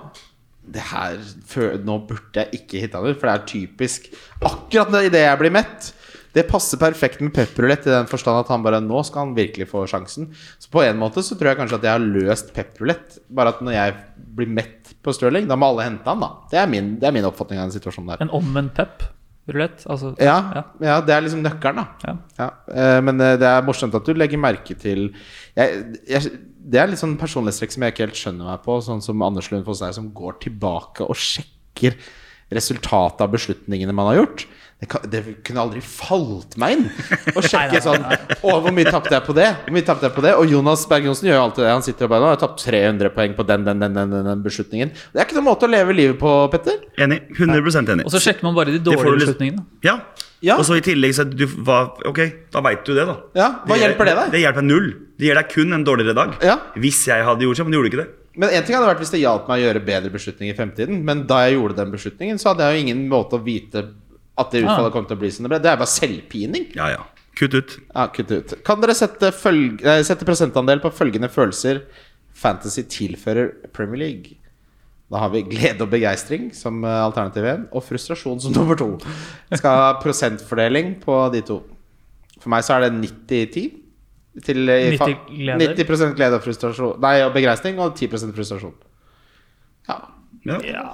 Speaker 3: Det her, før, Nå burde jeg ikke hitte han ut, for det er typisk. Akkurat idet jeg blir mett. Det passer perfekt med pepperulett i den forstand at han bare nå skal han virkelig få sjansen. Så på en måte så tror jeg kanskje at jeg har løst pepperulett. Bare at når jeg blir mett på Stirling, da må alle hente han, da. Det er min, det er min oppfatning av den situasjonen der.
Speaker 4: En omvendt pep. Rulett. Altså,
Speaker 3: Ja, ja. det er liksom nøkkelen, da.
Speaker 4: ja.
Speaker 3: Ja, eh, men eh, det er morsomt at du legger merke til jeg, jeg, Det er litt sånn personlighetstrekk som jeg ikke helt skjønner meg på, sånn som Anders Lund Fosnes, som går tilbake og sjekker resultatet av beslutningene man har gjort. Det, kan, det kunne aldri falt meg inn å sjekke sånn Å, hvor mye tapte jeg på det? Hvor mye tapte jeg på det? Og Jonas Berg Johnsen gjør jo alltid det. Han sitter og bare Nå har jeg tapt 300 poeng på den, den, den, den, den, den beslutningen. Det er ikke noen måte å leve livet på, Petter.
Speaker 5: Enig. 100 enig.
Speaker 4: Og så sjekker man bare de
Speaker 5: Det får du
Speaker 4: dårlige
Speaker 5: liksom-
Speaker 4: beslutningene.
Speaker 5: Ja.
Speaker 3: Ja.
Speaker 5: Og så i tillegg så du, hva, Ok, da veit du det, da.
Speaker 3: Ja, hva hjelper det deg?
Speaker 5: Det hjelper null. Det gir deg kun en dårligere dag.
Speaker 3: Ja.
Speaker 5: Hvis jeg hadde gjort det, men du gjorde ikke det.
Speaker 3: Men en ting hadde vært hvis det hjalp meg å gjøre bedre beslutninger i fremtiden. Men da jeg gjorde den beslutningen, så hadde jeg jo ingen måte å vite at det utfallet kom til å bli som det ble. Det er bare selvpining.
Speaker 5: Ja, ja. Kutt ut.
Speaker 3: Ja, kutt ut. Kan dere sette, følg nei, sette prosentandel på følgende følelser Fantasy tilfører Premier League? Da har vi glede og begeistring som eh, alternativ én, og frustrasjon som nummer to. Skal ha prosentfordeling på de to. For meg så er det 90-10. Til, eh, i fa-
Speaker 4: 90 gleder.
Speaker 3: 90 glede og frustrasjon Nei, og begeistring, og 10 frustrasjon. Ja.
Speaker 5: Ja.
Speaker 4: Ja.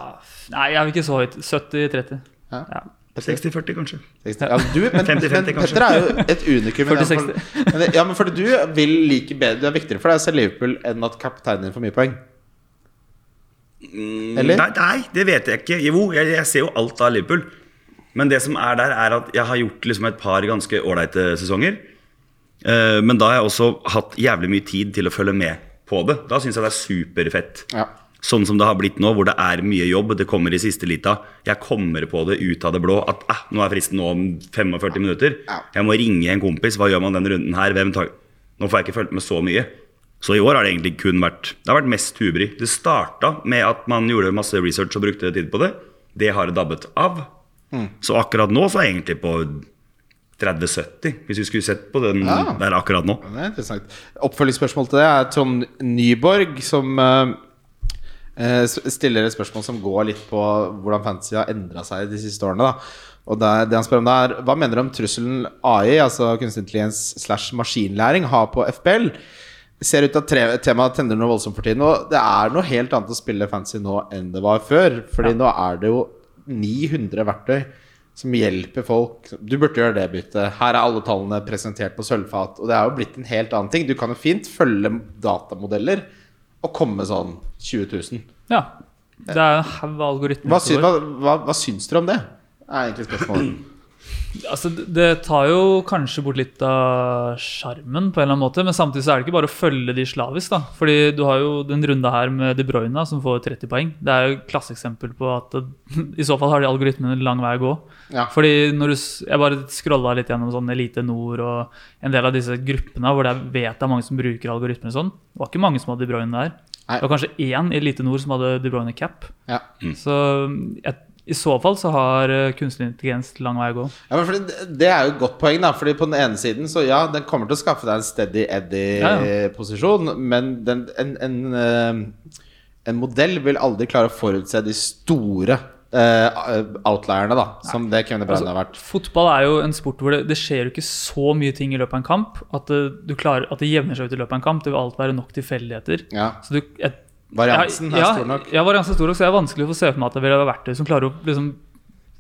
Speaker 4: Nei, jeg er ikke så høyt. 70-30.
Speaker 3: ja.
Speaker 4: Ja.
Speaker 5: 60-40, kanskje.
Speaker 3: 60. Ja, du, men,
Speaker 5: 50-50
Speaker 3: men
Speaker 5: kanskje.
Speaker 3: Petter er jo et unikum. i den form- Men, ja, men fordi du vil like bedre Det er viktigere for deg å se Liverpool enn at kapteinen din får mye poeng. Eller?
Speaker 5: Mm, Nei, nei, det vet jeg ikke. Jo, jeg, jeg ser jo alt av Liverpool. Men det som er der, er at jeg har gjort liksom et par ganske ålreite sesonger. Eh, men da har jeg også hatt jævlig mye tid til å følge med på det. Da syns jeg det er superfett.
Speaker 3: Ja.
Speaker 5: Sånn som det har blitt nå, hvor det er mye jobb. Det kommer i siste lita. Jeg kommer på det ut av det blå at eh, nå er fristen nå om 45 minutter.
Speaker 3: Ja.
Speaker 5: Jeg må ringe en kompis. Hva gjør man denne runden her? Hvem tar Nå får jeg ikke fulgt med så mye. Så i år har det egentlig kun vært Det har vært mest hubry. Det starta med at man gjorde masse research og brukte tid på det. Det har det dabbet av.
Speaker 3: Mm.
Speaker 5: Så akkurat nå så er jeg egentlig på 30-70, hvis vi skulle sett på den
Speaker 3: Ja.
Speaker 5: der akkurat nå.
Speaker 3: Det er interessant. Oppfølgingsspørsmål til det er Trond Nyborg, som eh, eh, s- stiller et spørsmål som går litt på hvordan fantasy har endra seg de siste årene. Da. Og det, er- det han spør om da er Hva mener du om trusselen AI, altså kunstig intelligens slash maskinlæring, har på FPL? Ser ut til at tre- temaet tender noe voldsomt for tiden. Og det er noe helt annet å spille fantasy nå enn det var før. Fordi nå er det jo 900 verktøy som hjelper folk. Du burde gjøre det byttet. Her er alle tallene presentert på sølvfat. Og det er jo blitt en helt annen ting. Du kan jo fint følge datamodeller og komme sånn 20 000.
Speaker 4: ja. Det er en haug av algoritmer.
Speaker 3: Hva,
Speaker 4: som
Speaker 3: sy
Speaker 4: går.
Speaker 3: hva, hva, hva syns dere om det? Er egentlig spørsmålet.
Speaker 4: Altså, det- det tar jo kanskje bort litt av sjarmen, på en eller annen måte, men samtidig så er det ikke bare å følge de slavisk. da. Fordi du har jo den runda her med De Bruyne, da, som får 30 poeng. Det er jo et klasseeksempel på at det- i så fall har de algoritmene en lang vei å gå.
Speaker 3: Ja.
Speaker 4: Fordi når du, s- Jeg bare scrolla litt gjennom sånn Elite Nord og en del av disse gruppene hvor jeg vet det er mange som bruker algoritmer og sånn. Det var ikke mange som hadde De Bruyne der.
Speaker 3: Nei.
Speaker 4: Det var kanskje én i Elite Nord som hadde De Bruyne cap.
Speaker 3: Ja.
Speaker 4: Så jeg, i så fall så har eh, kunstig intelligens lang vei å gå.
Speaker 3: Ja, men fordi det- det er jo et godt poeng, da. Fordi på den ene siden, så ja, den kommer til å skaffe deg en steady
Speaker 4: Ja,
Speaker 3: Eddie-posisjon, men den, en, en, eh, en modell vil aldri klare å forutse de store eh, outlierne, da. Som det Kevin De Bruyne har vært.
Speaker 4: Altså, Fotball er jo en sport hvor det, det skjer jo ikke så mye ting i løpet av en kamp at det, du klarer, at det jevner seg ut i løpet av en kamp. Det vil alltid være nok tilfeldigheter.
Speaker 3: Ja.
Speaker 4: Så du, jeg,
Speaker 3: Variansen
Speaker 4: jeg-
Speaker 3: er
Speaker 4: ja,
Speaker 3: stor nok.
Speaker 4: Ja, variansen er stor nok, så det er vanskelig å få se for meg at det vil være verktøy som klarer å liksom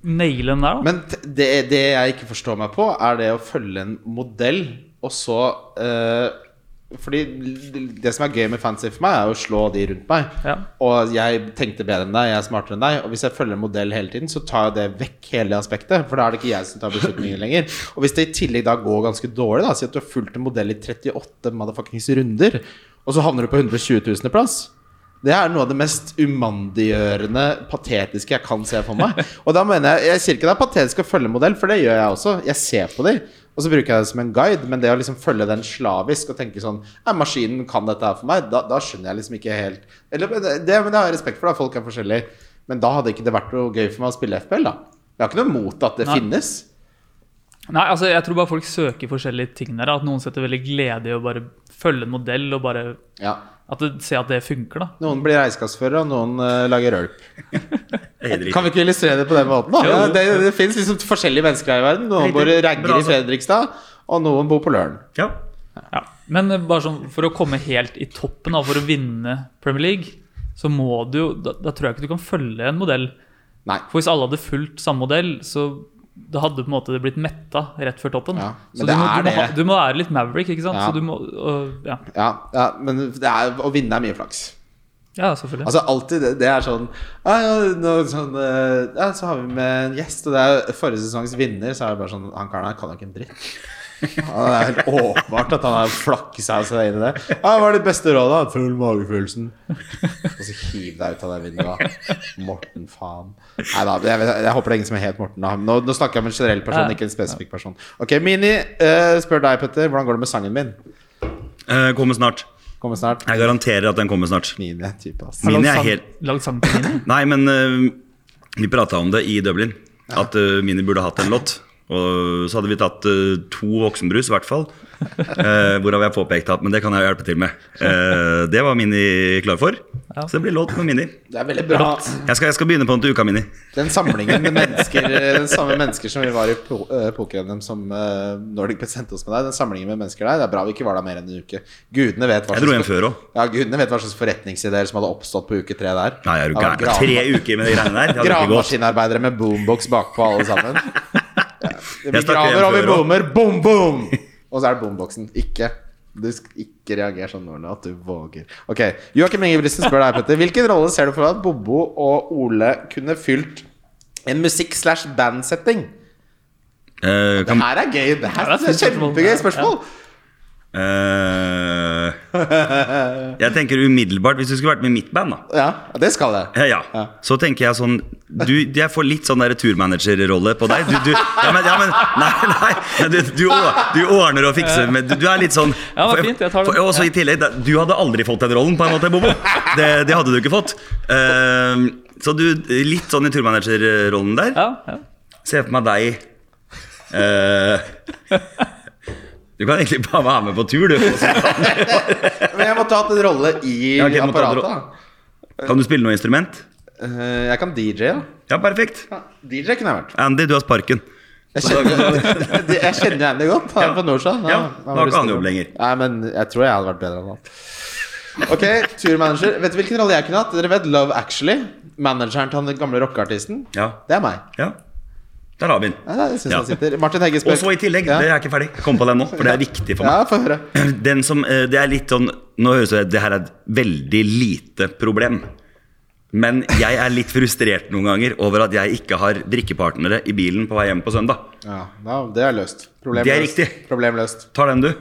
Speaker 4: naile den der. Da.
Speaker 3: Men t- det, det jeg ikke forstår meg på, er det å følge en modell, og så eh, Fordi det som er gøy med fantasy for meg, er jo å slå de rundt meg.
Speaker 4: Ja.
Speaker 3: Og jeg tenkte bedre enn deg, jeg er smartere enn deg. Og hvis jeg følger en modell hele tiden, så tar jeg det vekk hele det aspektet. For da er det ikke jeg som tar beslutninger lenger. Og hvis det i tillegg da går ganske dårlig, da, si at du har fulgt en modell i 38 motherfuckings runder, og så havner du på 120 000. plass. Det er noe av det mest umandiggjørende, patetiske jeg kan se for meg. Og da mener jeg Jeg sier ikke det er patetisk å følge modell, for det gjør jeg også. Jeg ser på dem, og så bruker jeg det som en guide. Men det å liksom følge den slavisk og tenke sånn Ja, maskinen kan dette her for meg. Da, da skjønner jeg liksom ikke helt Eller men det, det men det har jeg respekt for, da. Folk er forskjellige. Men da hadde ikke det vært noe gøy for meg å spille FPL, da. Jeg har ikke noe mot at det
Speaker 4: Nei.
Speaker 3: finnes.
Speaker 4: Nei, altså jeg tror bare folk søker forskjellige ting der. At noen setter veldig glede i å bare følge en modell og bare
Speaker 3: Ja.
Speaker 4: at det, se at det funker. da
Speaker 3: Noen blir regnskapsfører, og noen eh, lager øl.
Speaker 5: Jeg hater ikke.
Speaker 3: Kan vi ikke illustrere det på den måten? da? Ja, det det fins liksom forskjellige mennesker her i verden. Noen bor i ragger
Speaker 5: Bra,
Speaker 3: i Fredrikstad, og noen bor på Løren.
Speaker 5: Ja.
Speaker 4: ja. Men eh, bare sånn, for å komme helt i toppen da, for å vinne Premier League, så må du jo da, da tror jeg ikke du kan følge en modell.
Speaker 3: Nei.
Speaker 4: For hvis alle hadde fulgt samme modell, så det hadde på en måte blitt metta rett før toppen.
Speaker 3: Ja, men
Speaker 4: så du
Speaker 3: det
Speaker 4: må,
Speaker 3: er
Speaker 4: du, må, ha-
Speaker 3: det.
Speaker 4: du må være litt maverick, ikke sant?
Speaker 3: Ja.
Speaker 4: Så du må, og, ja.
Speaker 3: Ja, ja men det er, å vinne er mye flaks.
Speaker 4: ja, selvfølgelig.
Speaker 3: Altså alltid, det, det er sånn, ja, ja, nå, sånn eh, ja, Så har vi med en gjest, og det er forrige sesongs vinner. Så er det bare sånn Han karen her kan jo ikke en dritt. Ja, det er helt åpenbart at han har flaksa seg inn i det. Ja, Hva var det beste rådet? da? Følg magefølelsen. Og så hiv deg ut av det vinduet. Morten, faen. Nei da, jeg, vet- jeg håper det er ingen som er helt Morten. Da. Men Nå, nå snakker jeg om en generell person, ikke en spesifikk person. Ok, Mini eh, spør deg, Petter, hvordan går det med sangen min?
Speaker 5: Eh, kommer snart.
Speaker 3: Kommer snart.
Speaker 5: Jeg garanterer at den kommer snart.
Speaker 3: Mini er type, ass.
Speaker 4: Har du
Speaker 5: Mini
Speaker 4: lagd
Speaker 5: er
Speaker 4: sang-
Speaker 5: helt
Speaker 4: Lagd sang til Mini?
Speaker 5: Nei, men eh, vi prata om det i Dublin. At eh, Mini burde hatt en låt. Og så hadde vi tatt eh, to voksenbrus, i hvert fall. Eh, hvorav jeg påpekte at Men det kan jeg jo hjelpe til med. Eh, det var Mini klar for. Så det blir låt med Mini.
Speaker 3: Det er veldig bra.
Speaker 5: Jeg skal, jeg skal begynne på den til uka, Mini.
Speaker 3: Den samlingen med mennesker eh, Den samme mennesker som vi var i po eh, poker-NM som eh, Nordic Pet sendte oss med deg. Den samlingen med mennesker der Det er bra vi ikke var der mer enn en uke. Gudene vet hva
Speaker 5: Jeg dro hjem før òg.
Speaker 3: ja, gudene vet hva slags forretningsideer som hadde oppstått på uke tre der.
Speaker 5: Nei, er du
Speaker 3: Det var
Speaker 5: gæren. Tre uker med de greiene der. Det hadde ikke gått.
Speaker 3: Gravemaskinarbeidere med boombox bakpå, alle sammen. Ja, Vi
Speaker 5: Jeg snakker
Speaker 3: graver, og vi
Speaker 5: hjem før også.
Speaker 3: boomer. Boom, boom! Og så er det boomboxen. Ikke du skal ikke reagere sånn nå, at du våger. Ok, Joakim Ingebrigtsen spør deg, Petter. Hvilken rolle ser du for deg at Bobo og Ole kunne fylt en musikk-slash-band-setting?
Speaker 5: Eh,
Speaker 3: Det
Speaker 5: kan,
Speaker 3: her er gøy. Det her
Speaker 4: Ja, det er
Speaker 3: er
Speaker 4: fint spørsmål.
Speaker 3: kjempegøy spørsmål.
Speaker 5: eh, jeg tenker umiddelbart, hvis du skulle vært med i mitt band, da.
Speaker 3: Ja, det skal jeg.
Speaker 5: Ja, ja. Så tenker jeg sånn du, Jeg får litt sånn der turmanager-rolle på deg. Du, du, ja, men, ja, men Nei, nei. nei, Du, du, or- du ordner og fikser, men du, du er litt sånn
Speaker 4: Ja, det var fint, jeg tar den.
Speaker 5: for- Og så i tillegg, da- du hadde aldri fått den rollen, på en måte, Bobo. Det, det hadde du ikke fått. Ehm, så du, litt sånn i turmanager-rollen der.
Speaker 4: Ja, ja.
Speaker 5: Se for meg deg eh, Du kan egentlig bare være med på tur, du. og så
Speaker 3: Men jeg måtte ha hatt en rolle i
Speaker 5: Ja, ok, du måtte ha hatt en
Speaker 3: apparatet.
Speaker 5: rolle.
Speaker 3: da.
Speaker 5: Kan du spille noe instrument?
Speaker 3: Eh, Jeg kan DJ, da.
Speaker 5: Ja, perfekt.
Speaker 3: Ja, DJ kunne jeg vært.
Speaker 5: Andy, du har sparken.
Speaker 3: Jeg kjenner, jeg kjenner jo Andy godt. Han er
Speaker 5: Ja.
Speaker 3: fra Nordsjøen.
Speaker 5: Ja, da har
Speaker 3: var
Speaker 5: ikke han
Speaker 3: lyst til-
Speaker 5: jobb lenger.
Speaker 3: Nei, men jeg tror jeg hadde vært bedre enn han. Ok, turmanager. Vet du hvilken rolle jeg kunne hatt? Dere vet Love Actually? Manageren til han den gamle rockeartisten?
Speaker 5: Ja.
Speaker 3: Det er meg.
Speaker 5: ja. Der har vi den.
Speaker 3: Ja, jeg synes
Speaker 5: Ja.
Speaker 3: han sitter. Martin Hegge spør
Speaker 5: Og så i tillegg,
Speaker 3: ja.
Speaker 5: det er ikke ferdig. Kom på den nå, for det er viktig for meg.
Speaker 3: Ja, få høre.
Speaker 5: Den som, eh, det er litt sånn Nå høres det ut som det her er et veldig lite problem. Men jeg er litt frustrert noen ganger over at jeg ikke har drikkepartnere i bilen på vei hjem på søndag.
Speaker 3: Ja, da, det er løst. Problem
Speaker 5: Det er
Speaker 3: løst.
Speaker 5: riktig.
Speaker 3: Problem løst.
Speaker 5: Tar den, du.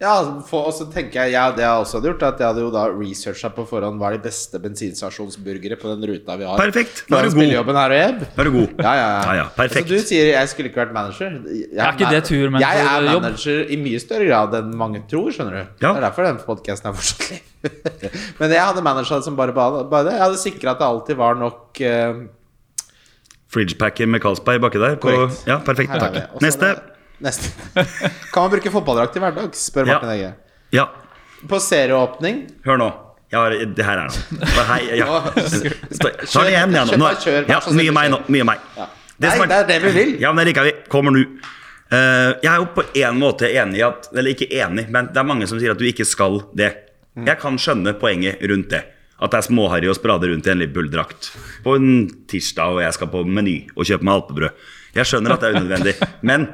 Speaker 3: Ja, for, og så tenker jeg ja, Det jeg også hadde gjort, er at jeg hadde jo da researcha på forhånd hva er de beste bensinstasjonsburgere på den ruta vi har.
Speaker 5: Perfekt.
Speaker 3: Da
Speaker 5: Da er
Speaker 3: er
Speaker 5: du god.
Speaker 3: Her og hjem.
Speaker 5: Da er du god.
Speaker 3: Ja, ja, ja.
Speaker 5: Ja, ja, perfekt.
Speaker 3: Altså, du sier jeg skulle ikke vært manager. Jeg,
Speaker 4: Er ikke det turmanager-
Speaker 3: Jeg er
Speaker 4: jobb?
Speaker 3: manager i mye større grad enn mange tror, skjønner du.
Speaker 5: Ja.
Speaker 3: Det er derfor den podcasten er fortsatt liv. Men jeg hadde manager som bare ba- bare det. Jeg hadde sikra at det alltid var nok eh,
Speaker 5: Fridgepacker med Carlsberg baki der. På,
Speaker 3: Korrekt.
Speaker 5: ja, perfekt.
Speaker 3: her er
Speaker 5: Takk.
Speaker 3: vi. Og så
Speaker 5: Neste.
Speaker 3: er det- Neste. Kan man bruke fotballdrakt til hverdags, spør
Speaker 5: Ja.
Speaker 3: Martin Egge.
Speaker 5: Ja,
Speaker 3: På serieåpning
Speaker 5: hør nå. Jeg har, det her er noe. Bare Hei, ja. Stå- Ta det igjen, igjen. Nå,
Speaker 3: Kjør, kjør, kjør.
Speaker 5: ja, mye meg nå. Mye meg.
Speaker 3: Nei,
Speaker 5: som
Speaker 3: det er det vi vil.
Speaker 5: Ja, men det liker vi. Kommer nå. Eh, jeg er jo på en måte enig i at Eller ikke enig, men det er mange som sier at du ikke skal det.
Speaker 3: Mm.
Speaker 5: Jeg kan skjønne poenget rundt det. At det er småharry å sprade rundt i en Liverpool-drakt på en tirsdag, og jeg skal på Meny og kjøpe meg alpebrød. Jeg skjønner at det er unødvendig. Men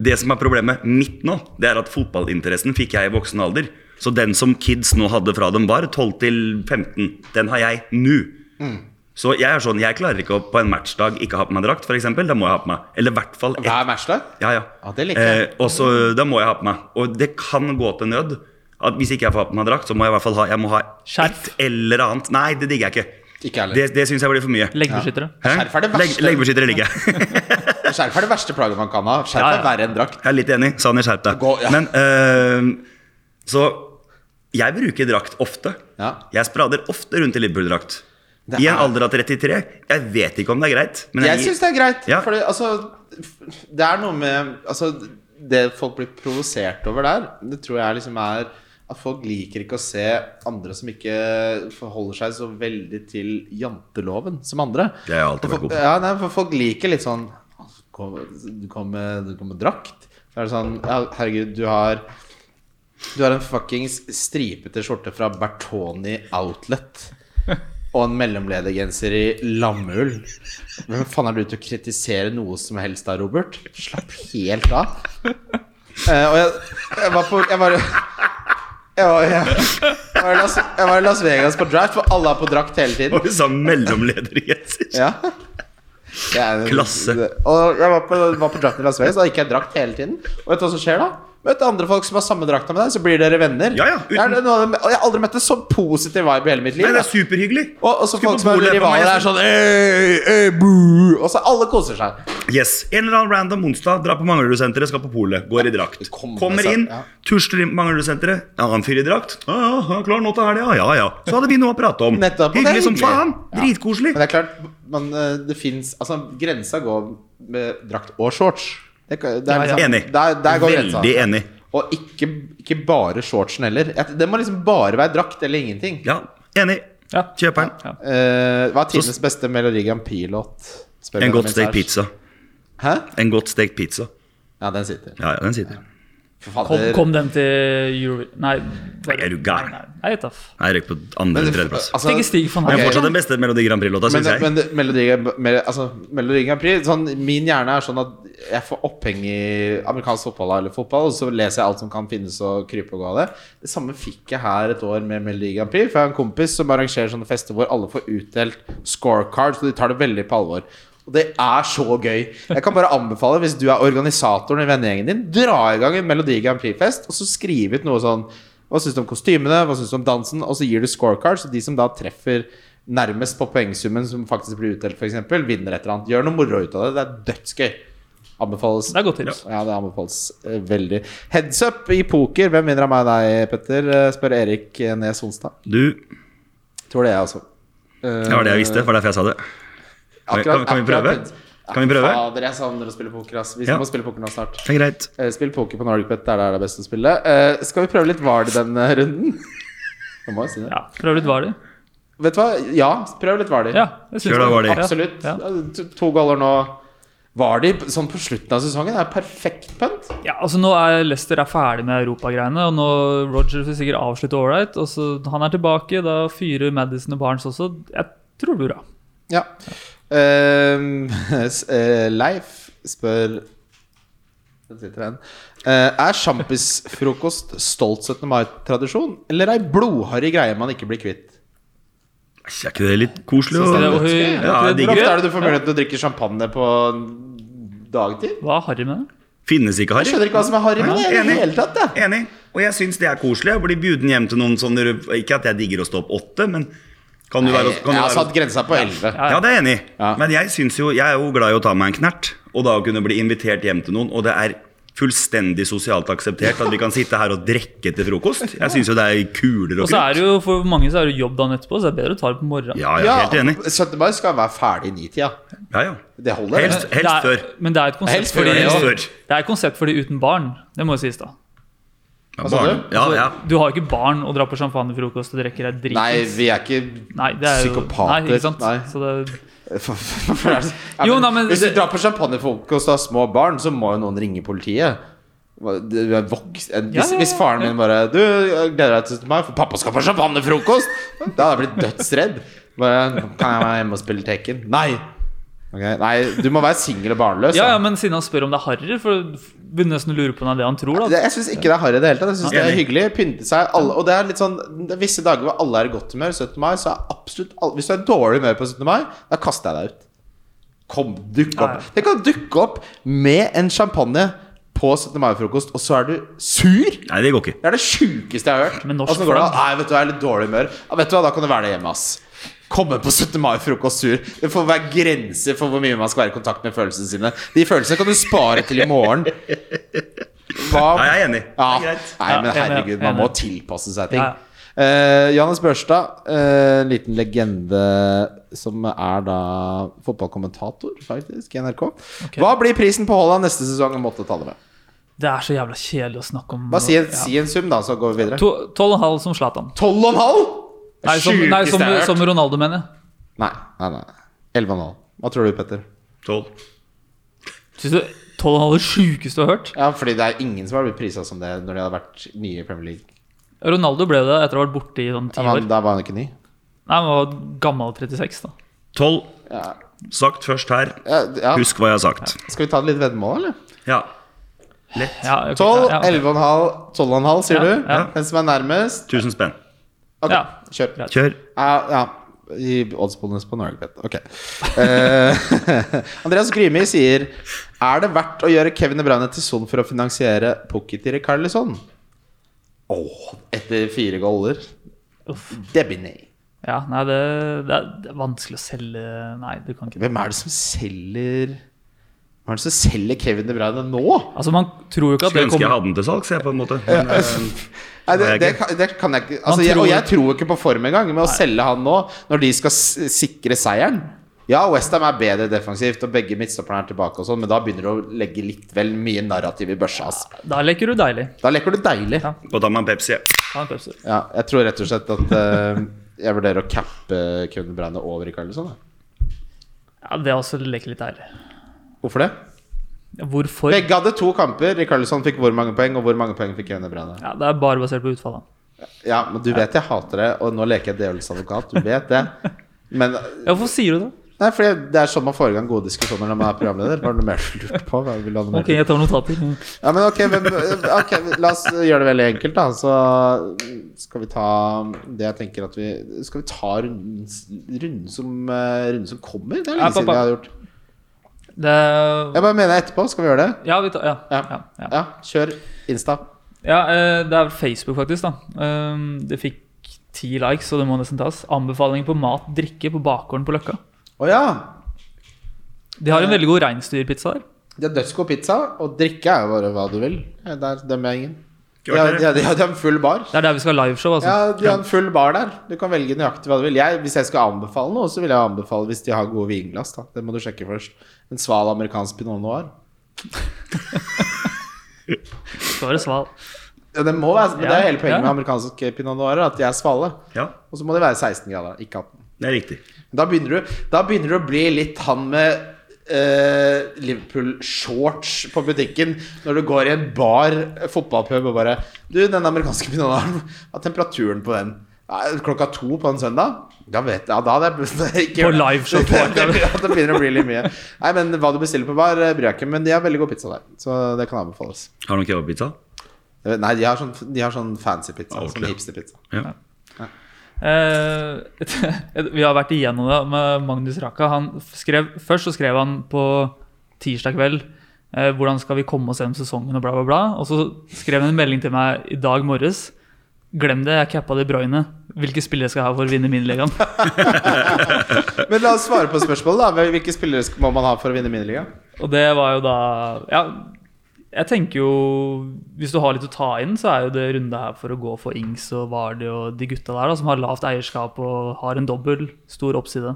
Speaker 5: det som er problemet mitt nå, det er at fotballinteressen fikk jeg i voksen alder. Så den som kids nå hadde fra dem var 12 til 15, den har jeg nå.
Speaker 3: Mm.
Speaker 5: Så jeg er sånn, jeg klarer ikke å på en matchdag ikke ha på meg drakt, for eksempel, Da må jeg ha på meg. Eller i hvert fall ett
Speaker 3: hver matchdag?
Speaker 5: ja, ja.
Speaker 3: Ja, det liker jeg.
Speaker 5: Eh, og så da må jeg ha på meg. Og det kan gå til nød. At hvis ikke jeg får ha på meg drakt, så må jeg i hvert fall ha, jeg må ha
Speaker 4: Skjerf.
Speaker 5: et eller annet. Nei, det digger jeg ikke.
Speaker 3: Ikke heller.
Speaker 5: Det, det syns jeg blir for mye.
Speaker 4: Leggbeskyttere.
Speaker 5: Hæ?
Speaker 3: Skjerf er det verste.
Speaker 5: Legg, leggbeskyttere ligger jeg.
Speaker 3: Skjerf er det verste plaget man kan ha. Skjerf
Speaker 4: Ja,
Speaker 3: er
Speaker 4: ja.
Speaker 3: verre enn drakt.
Speaker 5: Jeg er litt enig. Sanner, skjerp deg.
Speaker 3: Gå, ja.
Speaker 5: Men eh, Så jeg bruker drakt ofte.
Speaker 3: Ja.
Speaker 5: Jeg sprader ofte rundt i Liverpool-drakt.
Speaker 3: Det
Speaker 5: I en
Speaker 3: er-
Speaker 5: alder av 33. Jeg vet ikke om det er greit. Men
Speaker 3: Jeg syns det er greit.
Speaker 5: Ja.
Speaker 3: Fordi, altså, det er noe med altså, Det folk blir provosert over der, det tror jeg liksom er at folk liker ikke å se andre som ikke forholder seg så veldig til janteloven som andre.
Speaker 5: Det har jeg alltid vært god på.
Speaker 3: Ja, nei, for folk liker litt sånn kom- Du kom med, du kom med drakt. Så er det sånn ja, Herregud, du har du har en fuckings stripete skjorte fra Bertoni Outlet. Og en mellomledergenser i lammull. Hvem faen er du til å kritisere noe som helst da, Robert? Slapp helt av. Eh, og jeg, jeg var på Jeg var jeg var, jeg, jeg, var i Las, jeg var i Las Vegas på draft, for alle er på drakt hele tiden.
Speaker 5: Og vi sa mellomledergenser.
Speaker 3: Ja. Det er en-
Speaker 5: Klasse.
Speaker 3: Og jeg var på, var på drakten i Las Vegas, og da gikk jeg i drakt hele tiden. Og vet du hva som skjer da? Møter andre folk som har samme drakta med deg, så blir dere venner.
Speaker 5: Ja, ja, uten-
Speaker 3: Det er det noe av det- og jeg har aldri møtt en så positiv vibe i hele mitt liv.
Speaker 5: Nei, det
Speaker 3: da.
Speaker 5: er superhyggelig.
Speaker 3: og, og så
Speaker 5: Skulle
Speaker 3: folk
Speaker 5: på
Speaker 3: som er
Speaker 5: polet på meg,
Speaker 3: rivaler er
Speaker 5: jeg
Speaker 3: sånn «Øy, øy, bu!» Og så alle koser seg.
Speaker 5: Yes, En eller annen random onsdag, dra på Manglerudsenteret, skal på polet, går i drakt.
Speaker 3: Kommer
Speaker 5: Kommer
Speaker 3: seg-
Speaker 5: inn,
Speaker 3: ja.
Speaker 5: tusler inn på Manglerudsenteret. Ja, han fyr i drakt. Ja, ja, han er klar nå til helga. Ja, ja. Så hadde vi noe å prate om.
Speaker 3: Nettopp, og det er
Speaker 5: Hyggelig som
Speaker 3: hyggelig.
Speaker 5: faen. Dritkoselig.
Speaker 3: Men det er klart, man, eh, det fins Altså, grensa går med drakt og shorts. Det, kan- det er liksom,
Speaker 5: Enig.
Speaker 3: Der, der går grensa.
Speaker 5: Veldig enig.
Speaker 3: Og ikke, ikke bare shortsen heller. Jeg- Det må liksom bare være drakt eller ingenting.
Speaker 5: Ja, enig.
Speaker 4: Ja.
Speaker 5: Kjøperen.
Speaker 4: Ja.
Speaker 3: Eh, hva er
Speaker 5: Så
Speaker 3: tidenes beste Melodi Grand Prix-låt? Spør
Speaker 5: En
Speaker 3: Benjamin
Speaker 5: godt stekt
Speaker 3: Sars.
Speaker 5: pizza.
Speaker 3: Hæ?
Speaker 5: En godt stekt pizza.
Speaker 3: Ja, den sitter.
Speaker 5: Ja, ja, den sitter.
Speaker 3: For
Speaker 4: Kom,
Speaker 3: fader.
Speaker 4: kom den til Euro... Nei.
Speaker 5: Nei, er du gæren?
Speaker 4: Nei, nei, jeg vet da. f-
Speaker 5: Jeg røyk på andre- eller tredjeplass.
Speaker 3: Altså,
Speaker 4: Stig Stig van
Speaker 5: Men
Speaker 3: ok.
Speaker 4: Haugen.
Speaker 5: fortsatt den beste Melodi Grand Prix-låta,
Speaker 3: men,
Speaker 5: syns jeg.
Speaker 3: men Melodi, Mel- altså, Melodi Grand Prix sånn, Min hjerne er sånn at jeg får oppheng i amerikansk fotball eller fotball, og så leser jeg alt som kan finnes og krype og gå av det. Det samme fikk jeg her et år med Melodi Grand Prix. For jeg har en kompis som arrangerer sånne fester hvor alle får utdelt scorecards, og de tar det veldig på alvor. Og det er så gøy. Jeg kan bare anbefale, hvis du er organisatoren i vennegjengen din, dra i gang en Melodi Grand Prix-fest, og så skrive ut noe sånn Hva syns du om kostymene? Hva syns du om dansen? Og så gir du scorecards, og de som da treffer nærmest på poengsummen som faktisk blir utdelt, f.eks., vinner et eller annet. Gjør noe moro ut av det. Det er dødsgøy. Anbefales.
Speaker 4: Det er godt tips.
Speaker 3: Ja, det anbefales eh, veldig. Heads up i poker. Hvem vinner av meg og deg, Petter? Eh, Spør Erik Nes Onsdag.
Speaker 5: Du,
Speaker 3: Tror det, altså. Eh, jeg også.
Speaker 5: det var det jeg visste. Det var derfor jeg sa det. Kan vi, kan, kan vi prøve? Kan vi prøve?
Speaker 3: Fader, jeg savner å spille poker. Ass. Vi
Speaker 5: Ja.
Speaker 3: må spille poker nå snart.
Speaker 5: Det er greit.
Speaker 3: Eh, Spill poker på Norgpet, der det er det beste å spille. Eh, skal vi prøve litt Vard i den eh, runden? Jeg må jo si det.
Speaker 4: Ja, prøv litt Vali.
Speaker 3: Vet du hva? Ja, prøv litt Vard i.
Speaker 4: Ja, jeg syns
Speaker 5: Kjør da, Vardy.
Speaker 3: Absolutt.
Speaker 4: Ja.
Speaker 3: Ja, to- To goller nå. Var de sånn på slutten av sesongen? Det er perfekt punt.
Speaker 4: Ja, altså nå er Leicester er ferdig med europagreiene, og nå Roger vil sikkert avslutte ålreit. og så- Han er tilbake, da fyrer Madison og Barnes også. Jeg tror det blir bra.
Speaker 3: Ja. Ehm, s- eh, Leif spør Den sitter igjen. Eh, er sjampisfrokost stolt 17. mai-tradisjon, eller ei blodharry greie man ikke blir kvitt?
Speaker 5: Er ikke det litt koselig?
Speaker 4: Så det er jo
Speaker 5: å-
Speaker 4: høy-
Speaker 3: Ja,
Speaker 5: Ja,
Speaker 3: Hvor
Speaker 5: jeg digger
Speaker 3: ofte er
Speaker 5: det.
Speaker 3: det du får mulighet til å drikke champagne på en dagtid?
Speaker 4: Hva er harry med det?
Speaker 5: Finnes ikke
Speaker 3: Jeg skjønner
Speaker 5: harry.
Speaker 3: ikke hva som er harry med det i det
Speaker 5: Enig.
Speaker 3: hele tatt. Jeg.
Speaker 5: Enig. Og jeg syns det er koselig. Jeg blir buden hjem til noen sånne Ikke at jeg digger å stå opp åtte, men kan du være, kan
Speaker 3: jeg
Speaker 5: du
Speaker 3: har
Speaker 5: være
Speaker 3: satt grensa på 11.
Speaker 5: Ja, det er jeg enig. i.
Speaker 3: Ja.
Speaker 5: Men jeg, synes jo, jeg er jo glad i å ta meg en knert. Og da å kunne bli invitert hjem til noen. Og det er fullstendig sosialt akseptert at vi kan sitte her og drikke til frokost. Jeg syns jo det er kulere
Speaker 4: Og
Speaker 5: og
Speaker 4: så er
Speaker 5: kult.
Speaker 4: det jo for mange så er det jo jobb dagen etterpå, så det er bedre å ta det på morgenen.
Speaker 5: Ja, jeg er
Speaker 3: Ja,
Speaker 5: helt enig.
Speaker 3: 17. mai skal være ferdig i nitida.
Speaker 5: Ja, ja.
Speaker 3: Det holder. det.
Speaker 5: Helst,
Speaker 4: Det
Speaker 5: helst
Speaker 4: er,
Speaker 5: før.
Speaker 4: Men det er et konsept
Speaker 3: Helst
Speaker 4: for
Speaker 3: før,
Speaker 4: de-
Speaker 3: ja.
Speaker 5: Helst før.
Speaker 4: det er et konsept for de uten barn. Det må jo sies, da.
Speaker 5: Ja,
Speaker 3: sa
Speaker 5: barn.
Speaker 3: du?
Speaker 5: Ja, ja.
Speaker 4: Du har jo ikke barn og drar på champagnefrokost og drikker deg
Speaker 3: Nei,
Speaker 4: dritings.
Speaker 3: vi er ikke
Speaker 4: Nei, det er jo
Speaker 3: psykopater.
Speaker 4: Nei, ikke sant?
Speaker 3: Nei.
Speaker 4: Så det,
Speaker 3: Hvorfor er det så- Ja,
Speaker 4: Jo,
Speaker 3: men
Speaker 4: nei, men
Speaker 3: Hvis
Speaker 4: det-
Speaker 3: du drar på champagnefrokost og har små barn, så må jo noen ringe politiet. Hva- Du er voks... eh, Hvis,
Speaker 4: ja, ja,
Speaker 3: hvis faren min bare Du, jeg gleder deg til 17. mai, for pappa skal på champagnefrokost! Da hadde jeg blitt dødsredd. Bare, kan jeg være hjemme og spille Taken? Nei! Ok, nei, du må være singel og barnløs.
Speaker 4: ja,
Speaker 3: da.
Speaker 4: ja, men siden han spør om det er harry, for begynner nesten å lure på om det er det han tror. da
Speaker 3: Det- Jeg syns ikke det er harry i det hele tatt. Jeg synes det er
Speaker 5: Enig.
Speaker 3: hyggelig. Pynte seg. Alle, og det er litt sånn det er Visse dager hvor alle er i godt humør. 17. mai, så er absolutt alle Hvis du er i dårlig humør på 17. mai, da kaster jeg deg ut. Kom, dukk
Speaker 4: Ja, ja.
Speaker 3: opp. Det kan dukke opp med en champagne på 17. mai-frokost, og så er du sur!
Speaker 5: Nei, det går ikke.
Speaker 3: Det er det sjukeste jeg har hørt.
Speaker 4: Men norsk
Speaker 3: Åssen går det?
Speaker 4: flagg?
Speaker 3: Nei, vet du, jeg er i litt dårlig humør. Ja, vet du hva, da kan du være det hjemme, ass. Komme på 17. mai-frokost sur. Det får være grenser for hvor mye man skal være i kontakt med følelsene sine. De følelsene kan du spare til i morgen. Hva
Speaker 5: Nei, jeg er enig. Det
Speaker 3: ja.
Speaker 5: er greit.
Speaker 3: Nei, men
Speaker 4: Ja, enig,
Speaker 3: herregud, man
Speaker 4: enig.
Speaker 3: må tilpasse seg ting.
Speaker 4: Ja,
Speaker 3: Eh, Johannes Børstad, eh, en liten legende som er da fotballkommentator, faktisk, i NRK. Hva blir prisen på Haaland neste sesong? Jeg Måtte ta det med.
Speaker 4: Det er så jævla kjedelig å snakke om.
Speaker 3: Bare si, en-
Speaker 4: Ja.
Speaker 3: si en sum, da, så går vi videre.
Speaker 4: To- Tolv og en halv som Zlatan.
Speaker 3: Tolv og en halv?!
Speaker 4: Nei, som, nei, som,
Speaker 3: Sjukeste jeg har hørt.
Speaker 4: som Ronaldo, mener jeg.
Speaker 3: Nei, nei, nei. 11,5. Hva tror du, Petter?
Speaker 5: 12.
Speaker 4: Syns du tolv og en halv er det sjukeste du har hørt?
Speaker 3: Ja, fordi det er ingen som har blitt prisa som det når de har vært nye i Premier League.
Speaker 4: Ronaldo ble det etter å ha vært borte i sånn ti
Speaker 3: Ja,
Speaker 4: år.
Speaker 3: men da var han ikke ny.
Speaker 4: Nei, Han var gammel 36, da.
Speaker 5: 12.
Speaker 3: Ja,
Speaker 5: Sagt først her.
Speaker 3: ja, ja.
Speaker 5: Husk hva jeg har sagt.
Speaker 3: Skal vi ta et lite veddemål, eller?
Speaker 5: Ja.
Speaker 4: Ja, ok,
Speaker 3: 12,
Speaker 4: ja, ok.
Speaker 3: 11,5, 12,5, sier
Speaker 4: Ja,
Speaker 3: du?
Speaker 4: ja.
Speaker 3: Den som er nærmest?
Speaker 5: 1000 spenn.
Speaker 3: Ok,
Speaker 4: Ja.
Speaker 3: kjør.
Speaker 4: Greit.
Speaker 3: Ja,
Speaker 5: Kjør.
Speaker 3: Ah, ja. I oddsbonus på Norgebet. Ok. Eh, Andreas Grimi sier Er det verdt å gjøre Kevin De Bruyne til Son for å finansiere Pukki til Carlisson? Åh, etter fire goller.
Speaker 4: Uff.
Speaker 3: Debinay.
Speaker 4: Ja, nei, det, det, er, det er vanskelig å selge Nei, du kan ikke det.
Speaker 3: Hvem er det som selger Hvem er det som selger Kevin De Bruyne nå?
Speaker 4: Altså, man tror jo ikke at
Speaker 5: Skulle
Speaker 4: det
Speaker 5: ønske jeg
Speaker 4: kommer
Speaker 5: hadde den til salgs, jeg, på en måte. Men, eh,
Speaker 3: Nei, det,
Speaker 5: Nei, jeg
Speaker 3: det,
Speaker 5: ikke.
Speaker 3: kan, det kan jeg ikke altså, jeg,
Speaker 4: tror-
Speaker 3: Og jeg tror ikke på form engang. Med å selge han nå, når de skal s- sikre seieren Ja, Westham er bedre defensivt, og begge midtstopperne er tilbake, og sånn, men da begynner du å legge litt vel mye narrativ i børsa. ass.
Speaker 4: Da leker du deilig.
Speaker 3: Da leker du deilig.
Speaker 4: Ja.
Speaker 5: Og da må man Pepsi.
Speaker 4: Ta en pepsi.
Speaker 3: Ja, jeg tror rett og slett at eh, jeg vurderer å cappe Kevin De Bruyne over i Carlisson. jeg.
Speaker 4: Ja, det er også leker litt deilig.
Speaker 3: Hvorfor det?
Speaker 4: Hvorfor?
Speaker 3: Begge hadde to kamper. Carlisson fikk hvor mange poeng, og hvor mange poeng fikk Kevin De Bruyne?
Speaker 4: Ja, det er bare basert på utfallet.
Speaker 3: Ja, men du vet jeg hater det, og nå leker jeg djevelsadvokat. Du vet det. Men
Speaker 4: Ja, hvorfor sier du det?
Speaker 3: Nei, for det er sånn man får i gang gode diskusjoner når man er programleder. Var det noe mer du lurte på? Hva vil du ha noe mer
Speaker 4: Ok, jeg tar notater.
Speaker 3: til? Ja, men ok, men, ok, La oss gjøre det veldig enkelt, da. Så skal vi ta det jeg tenker at vi Skal vi ta runden, runden, som, eh, runden som kommer? Det er
Speaker 4: Ja,
Speaker 3: lenge siden
Speaker 4: pappa.
Speaker 3: vi har gjort.
Speaker 4: Det
Speaker 3: Jeg bare mener etterpå. Skal vi gjøre det?
Speaker 4: Ja, vi tar Ja.
Speaker 3: Ja.
Speaker 4: ja, ja.
Speaker 3: Ja, kjør Insta.
Speaker 4: ja eh, det er Facebook, faktisk. da Um, Det fikk ti likes, så det må nesten tas. Anbefaling på mat, drikke på bakgården på Løkka.
Speaker 3: Å ja!
Speaker 4: De har en veldig god reinsdyrpizza der.
Speaker 3: De har dødsgod pizza, og drikke er jo bare hva du vil. Der dømmer jeg ingen. De
Speaker 5: Kult,
Speaker 3: har,
Speaker 5: dere.
Speaker 3: de har, de har en full bar.
Speaker 4: Det er der vi skal ha liveshow. altså
Speaker 3: Ja, de har en full bar der. Du kan velge nøyaktig hva du vil. Jeg, hvis jeg skal anbefale noe, så vil jeg anbefale hvis de har gode vinglass. Da. Det må du sjekke først. En sval amerikansk pinot noir.
Speaker 4: Så er det sval.
Speaker 3: Ja, det må være, men det
Speaker 4: Ja,
Speaker 3: er hele poenget
Speaker 4: ja.
Speaker 3: med amerikansk pinot noir, at de er svale.
Speaker 5: Ja,
Speaker 3: Og så må det være 16 grader, ikke 18.
Speaker 5: det er riktig.
Speaker 3: Da begynner du, da begynner du å bli litt han med eh, Liverpool-shorts på butikken når du går i en bar eh, fotballpub og bare Du, den amerikanske pinotaren, hva er temperaturen på den? Nei, Klokka to på en søndag? Da vet jeg, ja, da hadde jeg ikke
Speaker 4: På liveshow på-
Speaker 3: Det, det, det, det begynner å bli litt mye. Nei, men Hva du bestiller på bar, eh, bryr jeg ikke men de har veldig god pizza der. Så det kan anbefales.
Speaker 5: Har du noen kebabpizza?
Speaker 3: Nei, de har sånn, de har sånn fancy pizza.
Speaker 5: Ja, ordentlig.
Speaker 3: Sånn hipster-pizza.
Speaker 5: Ja.
Speaker 4: Eh, vi har vært igjennom det med Magnus Raka. Han skrev, først så skrev han på tirsdag kveld eh, hvordan skal vi komme oss gjennom sesongen og bla, bla, bla. Og så skrev han en melding til meg i dag morges. Glem det, jeg cappa De Bruyne. Hvilke spillere skal jeg ha for å vinne min ligaen?
Speaker 3: Men la oss svare på spørsmålet, da. Hvilke spillere sk- må man ha for å vinne miniligaen?
Speaker 4: Og det var jo da Ja, jeg tenker jo Hvis du har litt å ta inn, så er jo det runde her for å gå for Ings og Vardy og de gutta der da, som har lavt eierskap og har en dobbel stor oppside.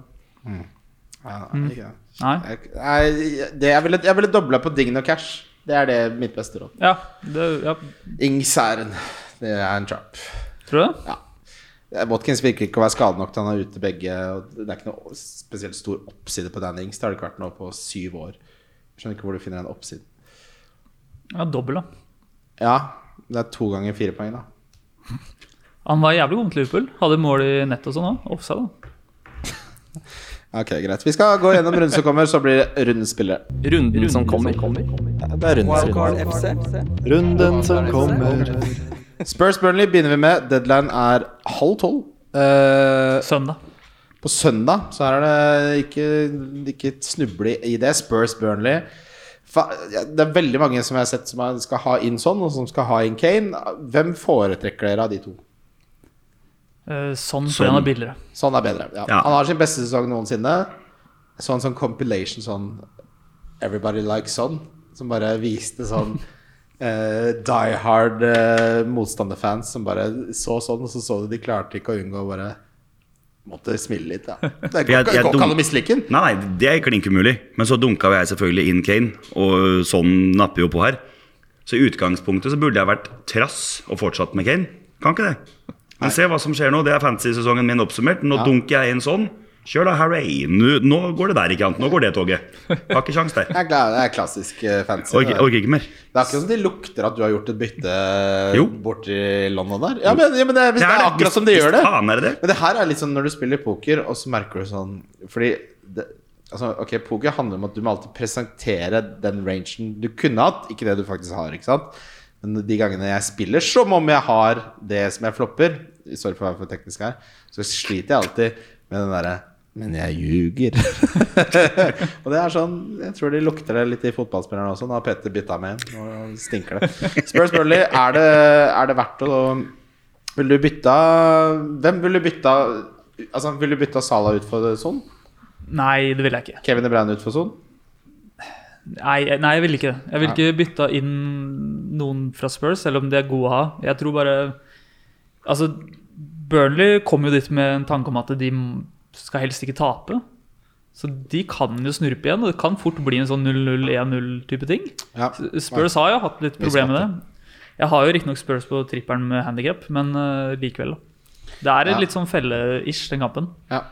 Speaker 3: Ja,
Speaker 4: Mm.
Speaker 3: ikke det.
Speaker 4: Nei?
Speaker 3: Jeg, nei, det, jeg, ville, jeg ville dobla på Dign og Cash. Det er det mitt beste råd.
Speaker 4: Ja, det, ja.
Speaker 3: Ings er en Det er en trap.
Speaker 4: Tror du det?
Speaker 3: Watkins virker ikke å være skadet nok til han er ute begge. Og det er ikke noe spesielt stor oppside på Dan Ings. Det har det ikke vært nå på syv år. Jeg skjønner ikke hvor du finner den oppsiden.
Speaker 4: Ja, dobbel, da.
Speaker 3: Ja, det er to ganger fire poeng, da.
Speaker 4: Han var jævlig god mot Liverpool. Hadde mål i nett og sånn òg. Offside, da.
Speaker 3: Ok, greit. Vi skal gå gjennom runden som kommer, så blir det rundens spillere.
Speaker 6: Runden som kommer.
Speaker 1: Det er runden som kommer. Runden som kommer.
Speaker 3: Spurs Burnley begynner vi med. Deadline er halv tolv. Eh,
Speaker 4: Søndag.
Speaker 3: På søndag så er det ikke, ikke snuble i det. Spurs Burnley. Fa, ja, det er veldig mange som jeg har sett som er- skal ha inn sånn, og som skal ha inn Kane. Hvem foretrekker dere av de to?
Speaker 4: Eh, Sånn
Speaker 5: Sånn.
Speaker 4: for en av billigere.
Speaker 3: Sånn er bedre. Ja.
Speaker 5: Ja.
Speaker 3: Han har sin beste sesong noensinne. Sånn sånn compilation sånn Everybody likes sånn, som bare viste sånn eh, die hard eh, motstanderfans som bare så sånn, og så så de de klarte ikke å unngå å bare måtte smile litt. Da. Det går
Speaker 5: jeg-
Speaker 3: ikke går
Speaker 5: jeg
Speaker 3: ikke an
Speaker 5: dum-
Speaker 3: å mislike den.
Speaker 5: Nei, nei, det er klink umulig. Men så dunka jo jeg selvfølgelig inn Kane, og sånn napper jo på her. Så i utgangspunktet så burde jeg vært trass og fortsatt med Kane. Kan ikke det. Men se hva som skjer nå. Det er fantasy-sesongen min oppsummert. Nå dunker jeg inn sånn. Kjør da, Harry. Nå, nå går det der ikke annet. Nå går det toget. Har ikke sjans der.
Speaker 3: Det er, kla- det er klassisk eh, fancy. det
Speaker 5: Orker,
Speaker 3: der.
Speaker 5: orker ikke mer.
Speaker 3: Det er ikke sånn at de lukter at du har gjort et bytte
Speaker 5: Jo.
Speaker 3: borti London der. Ja, men, ja, men det, er- hvis det er, akkurat som de gjør det.
Speaker 5: Faen er det det.
Speaker 3: Men det her er litt sånn når du spiller poker, og så merker du sånn Fordi det, altså, ok, poker handler om at du må alltid presentere den rangen du kunne hatt, ikke det du faktisk har. ikke sant? Men de gangene jeg spiller som om jeg har det som jeg flopper Sorry for å være for teknisk her. Så sliter jeg alltid med den derre men jeg ljuger. og det er sånn Jeg tror de lukter det litt i fotballspillerne også. Nå har Petter bytta med en, og nå stinker det. Spurs Burley, er det, er det verdt å ville du bytta Hvem ville du bytta Altså, ville du bytta Salah ut for Son?
Speaker 4: Nei, det ville jeg ikke.
Speaker 3: Kevin De Bruyne ut for Son?
Speaker 4: Nei, jeg- nei jeg ville ikke det. Jeg ville ikke bytta inn noen fra Spurs, selv om de er gode å ha. Jeg tror bare Altså, Burnley kom jo dit med en tanke om at de m- skal helst ikke tape. Så de kan jo snurpe igjen, og det kan fort bli en sånn 0-0-1-0-type ting.
Speaker 3: Ja.
Speaker 4: Spurs har jo hatt litt problemer med det. Jeg har jo riktignok Spurs på trippelen med handikap, men eh, likevel. Det er
Speaker 3: Ja.
Speaker 4: litt sånn felle-ish, den kampen.
Speaker 3: ja.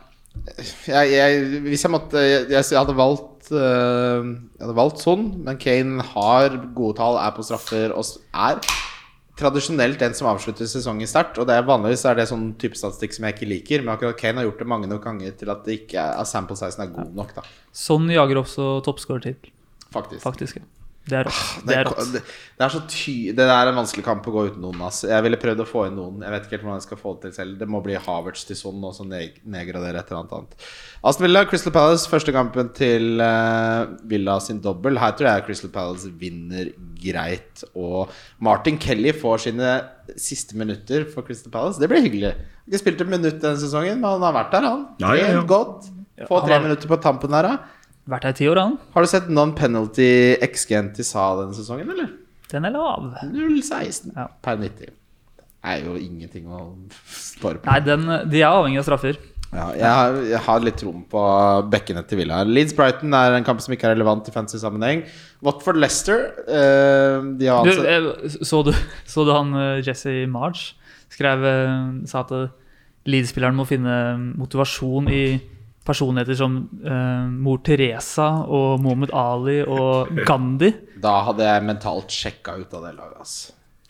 Speaker 3: Jeg, jeg, hvis jeg måtte Jeg, jeg hadde valgt øh, Jeg hadde valgt Son, men Kane har gode tall, er på straffer og s- er tradisjonelt den som avslutter sesongen sterkt. Og det er vanligvis er det sånn type statistikk som jeg ikke liker, men akkurat Kane har gjort det mange nok ganger til at det ikke er, at sample sizen er god nok, da.
Speaker 4: Sånn jager også toppskårertittel,
Speaker 3: Faktisk.
Speaker 4: faktisk. Det er rått.
Speaker 3: Ah, Det
Speaker 4: Det
Speaker 3: er,
Speaker 4: er rått.
Speaker 3: det, det er så ty Det der er en vanskelig kamp å gå uten noen. Ass. Jeg ville prøvd å få inn noen. Jeg vet ikke helt hvordan jeg skal få det til selv. Det må bli Havertz til sånn, og så ned, nedgradere et eller annet annet. Aston Villa, Crystal Palace, første kampen til eh, Villa sin dobbel. Her tror jeg Crystal Palace vinner greit. Og Martin Kelly får sine siste minutter for Crystal Palace. Det blir hyggelig. Har Ikke spilt et minutt denne sesongen, men han har vært der, han.
Speaker 5: Ja, ja, ja.
Speaker 3: Trent godt. Få
Speaker 4: han
Speaker 3: tre
Speaker 4: har-
Speaker 3: minutter på tampen her, da.
Speaker 4: Vært her i ti år, han.
Speaker 3: Har du sett non-penalty XG-en til Sa denne sesongen, eller?
Speaker 4: Den er lav.
Speaker 3: 0,16
Speaker 4: Ja.
Speaker 3: per 90. Det er jo ingenting å spare på.
Speaker 4: Nei, den, de er avhengig av straffer.
Speaker 3: Ja, jeg, har, jeg har litt rom på bekkene til Villa. Leeds Brighton er en kamp som ikke er relevant i fancy sammenheng. Watford Leicester eh, De har
Speaker 4: Du,
Speaker 3: ansett
Speaker 4: eh, så, du, så du han eh, Jesse March skrev, eh, sa at eh, Leeds-spilleren må finne mm, motivasjon i personligheter som eh, mor Teresa og Mohammed Ali og Gandhi.
Speaker 3: Da hadde jeg mentalt sjekka ut av det laget. ass.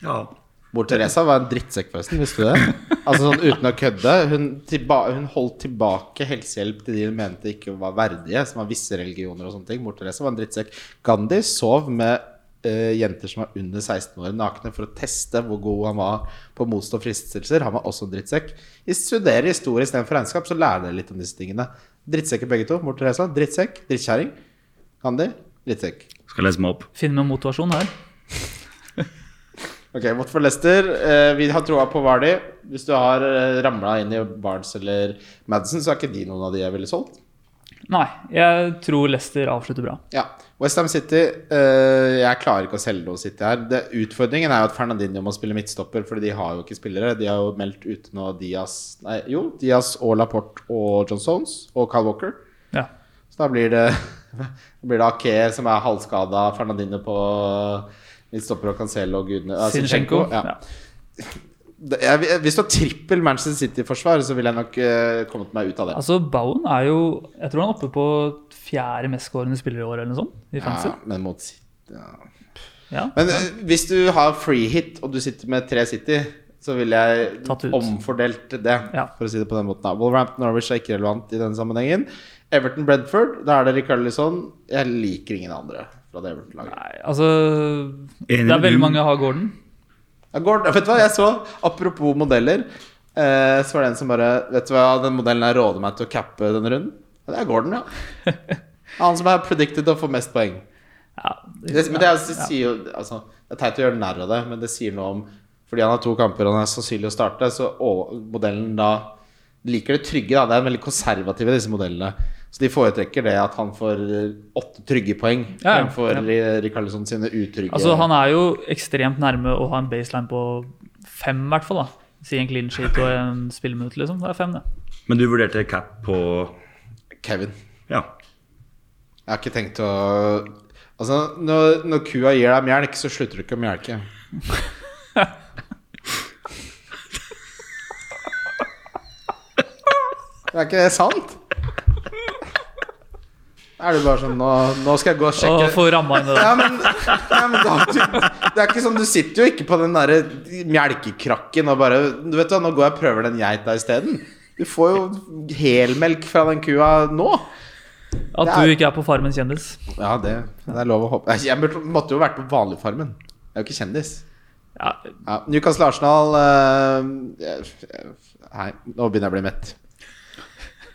Speaker 5: Ja.
Speaker 3: Mor Teresa var en drittsekk, forresten. Visste du det? Altså sånn Uten å kødde. Hun, tilba hun holdt tilbake helsehjelp til de hun mente ikke var verdige, som var visse religioner og sånne ting. Mor Teresa var en drittsekk. Gandhi sov med eh, jenter som var under 16 år, nakne, for å teste hvor god han var på å motstå fristelser. Han var også en drittsekk. I Studerer historie istedenfor regnskap, så lærer dere litt om disse tingene. Drittsekker begge to. Mor Teresa, drittsekk. Drittkjerring. Gandhi, drittsekk.
Speaker 5: Skal lese meg opp.
Speaker 4: Finn med motivasjon her.
Speaker 3: Ok, mot for Leicester. Eh, vi har troa på Vardy. Hvis du har eh, ramla inn i Barnes eller Madison, så er ikke de noen av de jeg ville solgt.
Speaker 4: Nei, jeg tror Leicester avslutter bra.
Speaker 3: Ja, Westham City eh, Jeg klarer ikke å selge noe City her. Det, utfordringen er jo at Fernandinho må spille midtstopper, Fordi de har jo ikke spillere. De har jo meldt ute nå Diaz Nei, jo, Diaz og Laporte og John Stones og Carl Walker.
Speaker 4: Ja.
Speaker 3: Så da blir det Da blir det Ake som er halvskada, Fernandinho på eh, midtstopper og Cancelo og gudene eh,
Speaker 4: Sinchenko.
Speaker 3: Ja.
Speaker 4: Ja.
Speaker 3: Det- jeg, jeg- hvis du har trippel Manchester City-forsvar, så ville jeg nok eh, kommet meg ut av det.
Speaker 4: Altså, Bowen er jo Jeg tror han er oppe på fjerde mestskårende spiller i år, eller noe sånt. I fancy.
Speaker 3: ja, men mot City ja.
Speaker 4: Ja.
Speaker 3: Men eh, hvis du har free hit, og du sitter med tre City, så ville
Speaker 4: Tatt
Speaker 3: jeg
Speaker 4: ut.
Speaker 3: omfordelt det,
Speaker 4: Ja.
Speaker 3: for å si det på den måten. da. Wolverhampton Norwich er ikke relevant i denne sammenhengen. Everton Bredford, da er det Rikarlison. Jeg liker ingen andre fra det Everton-laget.
Speaker 4: Nei, altså
Speaker 5: Enig
Speaker 4: Det er
Speaker 5: med
Speaker 4: veldig
Speaker 5: du.
Speaker 4: mange har Gordon.
Speaker 3: Jeg går, vet du hva jeg så? Apropos modeller. Eh, så var det en som bare Vet du hva, den modellen her råder meg til å cappe denne runden. Ja, det er Gordon, ja. Han som er predicted å få mest poeng.
Speaker 4: Ja,
Speaker 3: Det, men det, er, det,
Speaker 4: ja.
Speaker 3: sier jo, altså, det er teit å gjøre narr av det, men det sier noe om Fordi han har to kamper og han er sannsynlig å starte, så å, modellen da liker det trygge. Da. Det er veldig konservative, disse modellene. Så de foretrekker det at han får eh, åtte trygge poeng
Speaker 4: Ja, ja.
Speaker 3: fremfor Rikarlisson sine utrygge.
Speaker 4: Altså, han er jo ekstremt nærme å ha en baseline på fem, i hvert fall. da. Si en clean sheet og en spilleminutt, liksom. Det er fem, det.
Speaker 5: Men du vurderte cap på
Speaker 3: Kevin.
Speaker 5: Ja.
Speaker 3: Jeg har ikke tenkt å Altså, når, når kua gir deg melk, så slutter du ikke å melke. Er ikke det sant? Er du bare sånn Nå, nå skal jeg gå og
Speaker 4: Og
Speaker 3: sjekke
Speaker 4: få ramma inn det
Speaker 3: ja,
Speaker 4: der.
Speaker 3: men, ja, men da, du, Det er ikke sånn, du sitter jo ikke på den der melkekrakken og bare Du vet hva, nå går jeg og prøver den geita isteden. Du får jo helmelk fra den kua nå.
Speaker 4: At du ikke er på Farmen kjendis.
Speaker 3: Ja, det, det er lov å håpe. Jeg burde- måtte jo vært på vanligfarmen. Jeg er jo ikke kjendis.
Speaker 4: Ja,
Speaker 3: Ja, Newcastle Arsenal eh, jeg- jeg- Nei, nå begynner jeg å bli mett.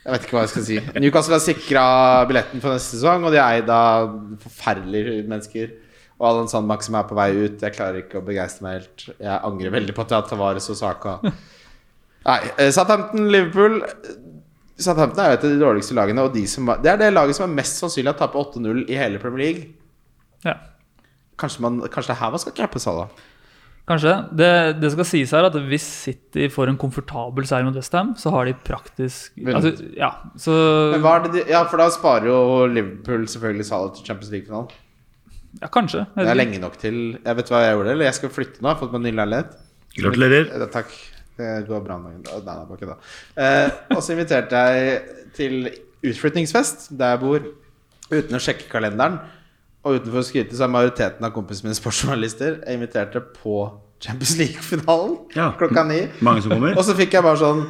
Speaker 3: Jeg vet ikke hva jeg skal si. Newcastle har sikra billetten for neste sesong, og de er eid av forferdelige mennesker. Og Alan Sandbakk som er på vei ut. Jeg klarer ikke å begeistre meg helt. Jeg angrer veldig på at jeg har Tavares og Saka. Nei, eh, Southampton, Liverpool Southampton er jo et av de dårligste lagene. Og de som, det er det laget som er mest sannsynlig å tape 8-0 i hele Premier League.
Speaker 4: ja.
Speaker 3: Kanskje, man, kanskje det er her man skal cappe Salah.
Speaker 4: Kanskje. Det, det skal sies her at hvis City får en komfortabel seier mot Westham, så har de praktisk
Speaker 3: Vunnet.
Speaker 4: altså, Ja, så
Speaker 3: Men hva er det de, ja, for da sparer jo Liverpool selvfølgelig Salah til Champions League-finalen.
Speaker 4: ja, Kanskje.
Speaker 3: Det er lenge nok til Jeg vet hva jeg gjorde, eller jeg skal flytte nå. Jeg har fått meg ny leilighet.
Speaker 5: Gratulerer.
Speaker 3: Eh, Takk. Det går bra om dagen. Å, Nei, det var ikke det. Eh, og så inviterte jeg til utflytningsfest der jeg bor, uten å sjekke kalenderen. Og utenfor å skryte så er majoriteten av kompisene mine sportsjournalister. Jeg inviterte på Champions League-finalen
Speaker 5: Ja.
Speaker 3: klokka ni.
Speaker 5: Mange som kommer.
Speaker 3: Og så fikk jeg bare sånn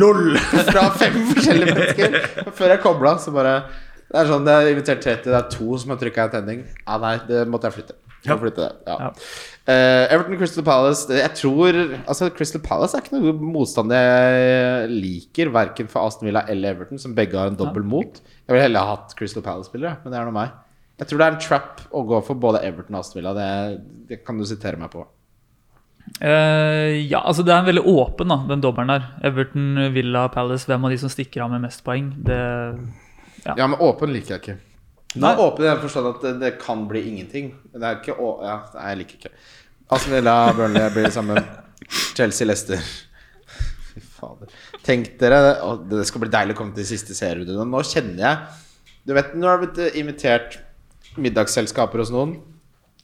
Speaker 3: LOL fra fem forskjellige mennesker. Før jeg kobla, så bare Det er sånn, det er invitert 30, det er to som har trykka attending. Ja, nei, det måtte jeg flytte. Jeg må
Speaker 5: Ja.
Speaker 3: flytte det, ja.
Speaker 4: Ja.
Speaker 3: Eh, Everton Crystal Palace det- Jeg tror Altså, Crystal Palace er ikke noe motstand jeg liker, verken for Aston Villa eller Everton, som begge har en dobbel mot. Jeg ville heller ha hatt Crystal Palace-spillere, men det er nå meg. Jeg tror det er en trap å gå for både Everton og Aston Villa. Det, det kan du sitere meg på.
Speaker 4: Eh, ja, altså det er veldig åpen, da, den dommeren der. Everton, Villa, Palace. Hvem av de som stikker av med mest poeng? Det,
Speaker 3: Ja, men åpen liker jeg ikke. Nå
Speaker 4: Nei.
Speaker 3: er åpen i den forstand at det, det kan bli ingenting. Det er ikke å... Ja, nei, jeg liker ikke. Aston Villa Burnley blir det samme. Chelsea Leicester. Fy fader. Tenk dere å, Det skal bli deilig å komme til siste serierunde. Nå kjenner jeg Du vet, nå har jeg blitt eh, invitert middagsselskaper hos noen.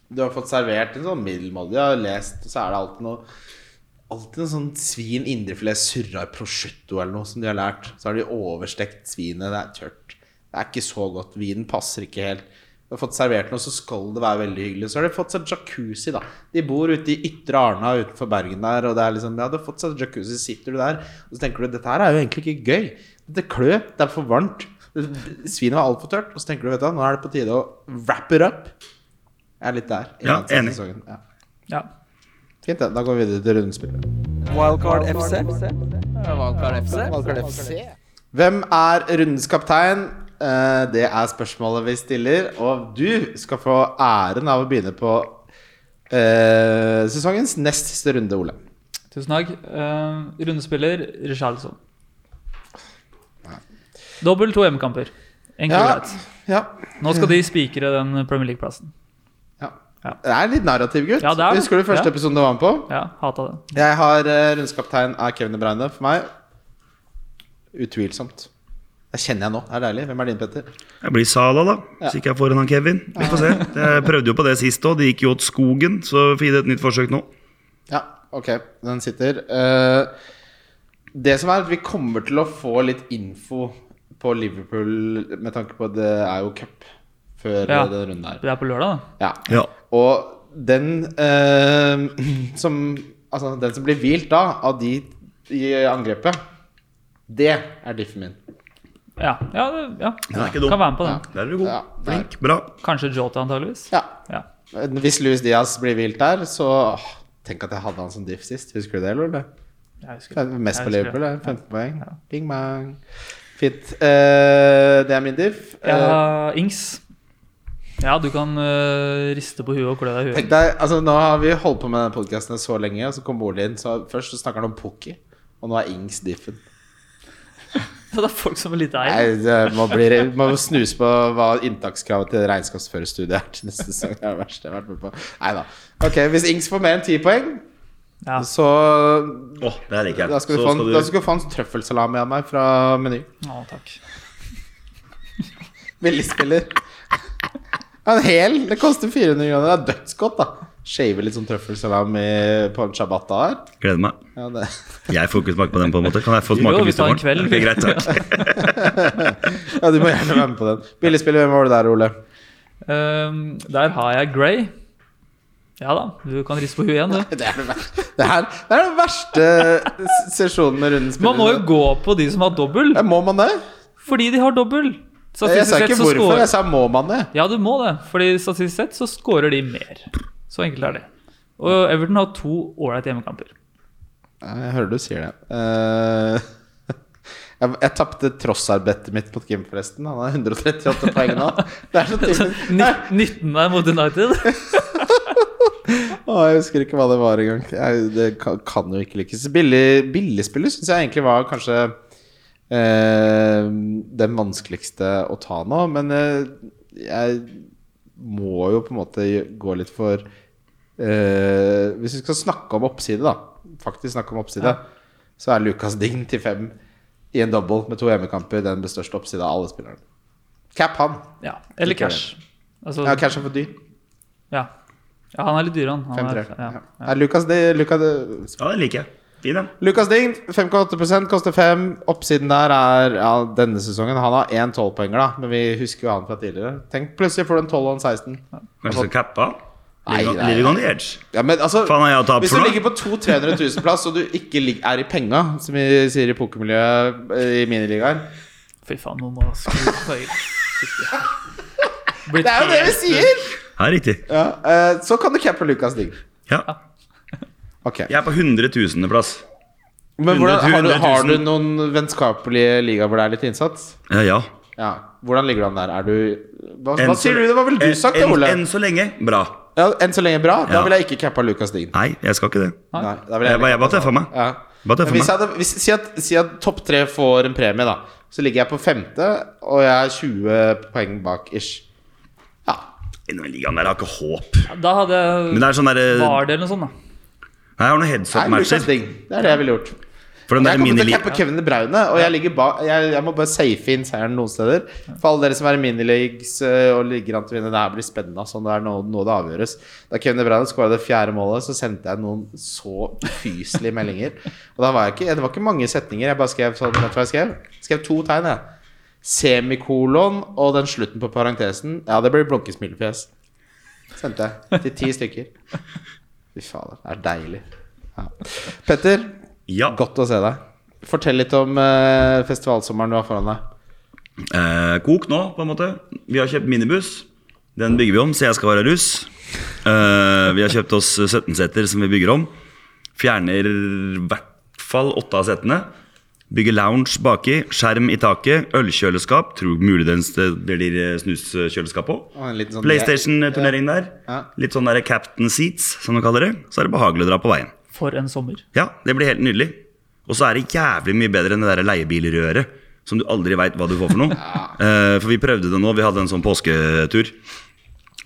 Speaker 3: Du har fått servert en sånn middelmådig, jeg har lest, og så er det alltid noe Alltid noe sånn svin indrefilet surra i prosciutto eller noe som de har lært. Så har de overstekt svinet, det er tørt. Det er ikke så godt. Vinen passer ikke helt. Du har fått servert noe, så skal det være veldig hyggelig. Så har de fått seg jacuzzi, da. De bor ute i Ytre Arna utenfor Bergen der, og det er liksom Ja, du har fått seg jacuzzi, sitter du der, og så tenker du dette her er jo egentlig ikke gøy. Dette klør, det er for varmt. Svinet var altfor tørt. Og så tenker du, vet du hva, nå er det på tide å wrap it up. Jeg er litt der. i
Speaker 5: Ja,
Speaker 3: den siste
Speaker 5: enig.
Speaker 3: sesongen. Ja.
Speaker 4: ja.
Speaker 3: Fint, det. Da går vi videre til rundespillet.
Speaker 2: Wildcard FC. Wildcard FC.
Speaker 3: Hvem er rundens kaptein? Eh, Det er spørsmålet vi stiller. Og du skal få æren av å begynne på eh, sesongens nest siste runde, Ole.
Speaker 4: Tusen takk. Eh, rundespiller Richarlison. Dobbel to hjemmekamper. Enkelt og
Speaker 3: Ja.
Speaker 4: greit.
Speaker 3: ja.
Speaker 4: Nå skal de spikre den Premier League-plassen.
Speaker 3: ja.
Speaker 4: Ja.
Speaker 3: Det er litt narrativ, gutt.
Speaker 4: Ja, det er det.
Speaker 3: Husker du første
Speaker 4: Ja.
Speaker 3: episoden du var med på?
Speaker 4: Ja, hata det.
Speaker 3: Jeg har eh, rundens kaptein av Kevin De Bruyne for meg. Utvilsomt. Det kjenner jeg nå. Det er deilig. Hvem er din, Petter?
Speaker 5: Jeg blir Sala, da. Hvis ikke jeg får en av Kevin. Vi får se. Jeg prøvde jo på det sist òg. Det gikk jo åt skogen, så vi gir det et nytt forsøk nå.
Speaker 3: Ja, ok, den sitter. Eh, det som er at vi kommer til å få litt info på Liverpool med tanke på at det er jo cup før
Speaker 4: Ja.
Speaker 3: eh, den runden her.
Speaker 4: Det er på lørdag, da.
Speaker 3: Ja.
Speaker 5: Ja.
Speaker 3: Og den eh, som Altså, den som blir hvilt da, av de i angrepet, det er diffen min.
Speaker 4: Ja, ja, det- ja.
Speaker 5: Den er ikke
Speaker 4: kan
Speaker 5: dum.
Speaker 4: være med på den.
Speaker 5: Der er du god.
Speaker 3: Ja, der.
Speaker 5: Flink. Bra.
Speaker 4: Kanskje Jota, antageligvis.
Speaker 3: Ja.
Speaker 4: Ja.
Speaker 3: Hvis Louis Diaz blir hvilt der, så åh, Tenk at jeg hadde han som diff sist. Husker du det, eller? Ole?
Speaker 4: Jeg husker
Speaker 3: Det
Speaker 4: det.
Speaker 3: er Mest på
Speaker 4: Jeg husker
Speaker 3: Liverpool, det.
Speaker 4: det.
Speaker 3: 15 poeng. Bing bang. Fint. Eh, det er min diff. Eh,
Speaker 4: Ja, Ings. Ja, du kan øh, riste på huet og klø deg i
Speaker 3: tenk
Speaker 4: huet.
Speaker 3: deg, altså, nå har vi holdt på med denne podkasten så lenge, og så kom Ole inn. Så først så snakker han om Pukki, og nå er Ings diffen.
Speaker 4: opptatt av folk som er lite
Speaker 3: Nei,
Speaker 4: eier.
Speaker 3: det, man, blir, man må snuse på hva inntakskravet til regnskapsførerstudiet er til neste sesong. Det er det verste jeg har vært med på. Neida. Ok, hvis Ings får mer enn ti poeng,
Speaker 4: Ja.
Speaker 3: så
Speaker 5: Åh, det her liker jeg.
Speaker 3: da skal, du
Speaker 5: Så
Speaker 3: få en,
Speaker 5: skal du-
Speaker 3: da skal du få en trøffelsalami av meg fra Meny.
Speaker 4: Å, takk.
Speaker 3: Billigspiller. En hel! Det koster 400 kroner. Det er dødsgodt, da. Shave litt sånn trøffelsalami på en shabbata her.
Speaker 5: Gleder meg.
Speaker 3: Ja, det.
Speaker 5: Jeg får ikke smake på den, på en måte. Kan jeg få smake
Speaker 4: Jo, vi
Speaker 5: hvis du
Speaker 4: tar en
Speaker 5: får
Speaker 4: kveld.
Speaker 5: den? Ok, greit, takk.
Speaker 3: ja, du må gjerne være med på den. Billigspiller, hvem var det der, Ole?
Speaker 4: Ehm, der har jeg Grey. Ja da, du kan riste på huet igjen, du.
Speaker 3: Det er, det ver- det er, det er den verste s- sesjonen med runden
Speaker 4: Man må jo gå på de som har dobbel,
Speaker 3: Ja, Må man det?
Speaker 4: fordi de har dobbel.
Speaker 3: Jeg
Speaker 4: Statistisk
Speaker 3: sa
Speaker 4: sett
Speaker 3: ikke
Speaker 4: så
Speaker 3: hvorfor,
Speaker 4: scorer
Speaker 3: jeg sa må man det.
Speaker 4: Ja, du må det, fordi statistisk sett så scorer de mer. Så enkelt er det. Og Everton har to ålreite hjemmekamper.
Speaker 3: Ja, Jeg hører du sier det. Eh, jeg jeg tapte trossarbeidet mitt mot Kim, forresten. Han har 138 poeng nå. Det er så typisk.
Speaker 4: Ni- 19 er mot United.
Speaker 3: Å, jeg husker ikke hva det var engang. Jeg- Det kan, kan jo ikke lykkes. Billig, billigspillet syns jeg egentlig var kanskje eh, den vanskeligste å ta nå. Men eh, jeg må jo på en måte gå litt for eh, Hvis vi skal snakke om oppside, da, faktisk snakke om oppside, så er Lucas Dign til fem i en double med to hjemmekamper den med størst oppside av alle spillerne. Cap han.
Speaker 4: Ja, Eller cash. Altså,
Speaker 3: Ja, cash er for dyr.
Speaker 4: ja. ja, han er litt dyr, han. han
Speaker 3: 5-3.
Speaker 4: er,
Speaker 3: Ja.
Speaker 4: ja.
Speaker 3: Er Lucas, Di- Lucas
Speaker 5: Ja, den liker jeg. Fin, den.
Speaker 3: Lucas Ding, 5,8 koster 5. Oppsiden der er ja, denne sesongen. Han har én 12-poenger, da, men vi husker jo han fra tidligere. Tenk, plutselig får du en 12 og en 16.
Speaker 5: Kanskje skal cappa?
Speaker 3: Nei,
Speaker 5: Living on-
Speaker 3: nei.
Speaker 5: Living on the edge.
Speaker 3: Ja, men altså,
Speaker 5: Faen, har jeg tapt
Speaker 3: hvis
Speaker 5: for
Speaker 3: du
Speaker 5: noe?
Speaker 3: ligger på 200 300 000-plass, og du ikke lig- er i penga, som vi sier i pokermiljøet eh, i miniligaen
Speaker 4: Fy faen, nå må skru på øyet.
Speaker 3: Det er jo det vi sier!
Speaker 5: Ja, riktig.
Speaker 3: Ja, eh, så kan du cappe Lucas Ding.
Speaker 5: Ja.
Speaker 3: Ok.
Speaker 5: Jeg er på 100 000.-plass.
Speaker 3: Men hvordan, har, du,
Speaker 5: 100 000.
Speaker 3: har du noen vennskapelige ligaer hvor det er litt innsats?
Speaker 5: Ja, ja.
Speaker 3: Ja. Hvordan ligger du an der? Er du Hva,
Speaker 5: Enn
Speaker 3: hva
Speaker 5: så-
Speaker 3: sier du? Det var vel du
Speaker 5: enn-
Speaker 3: sagt, det,
Speaker 5: enn-
Speaker 3: Ole?
Speaker 5: Enn så lenge bra.
Speaker 3: Ja, enn så lenge bra. Da
Speaker 5: Ja.
Speaker 3: ville jeg ikke cappa Lucas Ding.
Speaker 5: Nei, jeg skal ikke det.
Speaker 3: Nei, da vil
Speaker 5: Jeg,
Speaker 3: jeg
Speaker 5: bare- jeg bare tøffa meg.
Speaker 3: ja.
Speaker 5: Bare
Speaker 3: Men
Speaker 5: tøffa
Speaker 3: hvis
Speaker 5: meg.
Speaker 3: jeg hadde, hvis, si, at, si at topp tre får en premie, da. Så ligger jeg på femte, og jeg er 20 poeng bak ish. Ja.
Speaker 5: Innom i ligaen der, jeg har ikke håp.
Speaker 4: Da hadde
Speaker 5: Men det er sånn derre
Speaker 4: Var det eller noe sånt, da?
Speaker 5: Nei, Jeg har noen
Speaker 3: Det er Lucas
Speaker 5: headshot-matcher.
Speaker 3: Ding. Det er det jeg ville gjort.
Speaker 5: For den der
Speaker 3: Jeg kommer til å
Speaker 5: mini
Speaker 3: cappe Kevin De Bruyne, og jeg, ligger ba, jeg, jeg må bare safe inn seieren noen steder. For alle dere som er i minileagues eh, og ligger an til å vinne, det her blir spennende. Sånn det er nå, nå det avgjøres. Da Kevin De Bruyne skåra det fjerde målet, så sendte jeg noen så ufyselige meldinger. Og da var jeg ikke, det var ikke mange setninger. Jeg bare skrev sånn, vet du hva jeg skrev? Skrev to tegn, jeg. Semikolon og den slutten på parentesen. Ja, det blir blunkesmilefjes. Sendte jeg til ti stykker. Fy fader, det er deilig. Ja. Petter,
Speaker 5: Ja.
Speaker 3: Godt å se deg. Fortell litt om eh, festivalsommeren du har foran deg.
Speaker 5: Eh, kok nå, på en måte. Vi har kjøpt minibuss. Den bygger vi om, så jeg skal være russ. Eh, vi har kjøpt oss 17-seter som vi bygger om. Fjerner i hvert fall åtte av setene. Bygger lounge baki, skjerm i taket, ølkjøleskap. Tror mulig den st- det blir eh, snuskjøleskap òg.
Speaker 3: Og en liten sånn-
Speaker 5: PlayStation-turnering der.
Speaker 3: Ja.
Speaker 5: Litt sånn der captain seats, som de kaller det. Så er det behagelig å dra på veien.
Speaker 4: For en sommer.
Speaker 5: Ja, det blir helt nydelig. Og så er det jævlig mye bedre enn det der leiebilrøret. Som du aldri veit hva du får for noe. Eh, for vi prøvde det nå. Vi hadde en sånn påsketur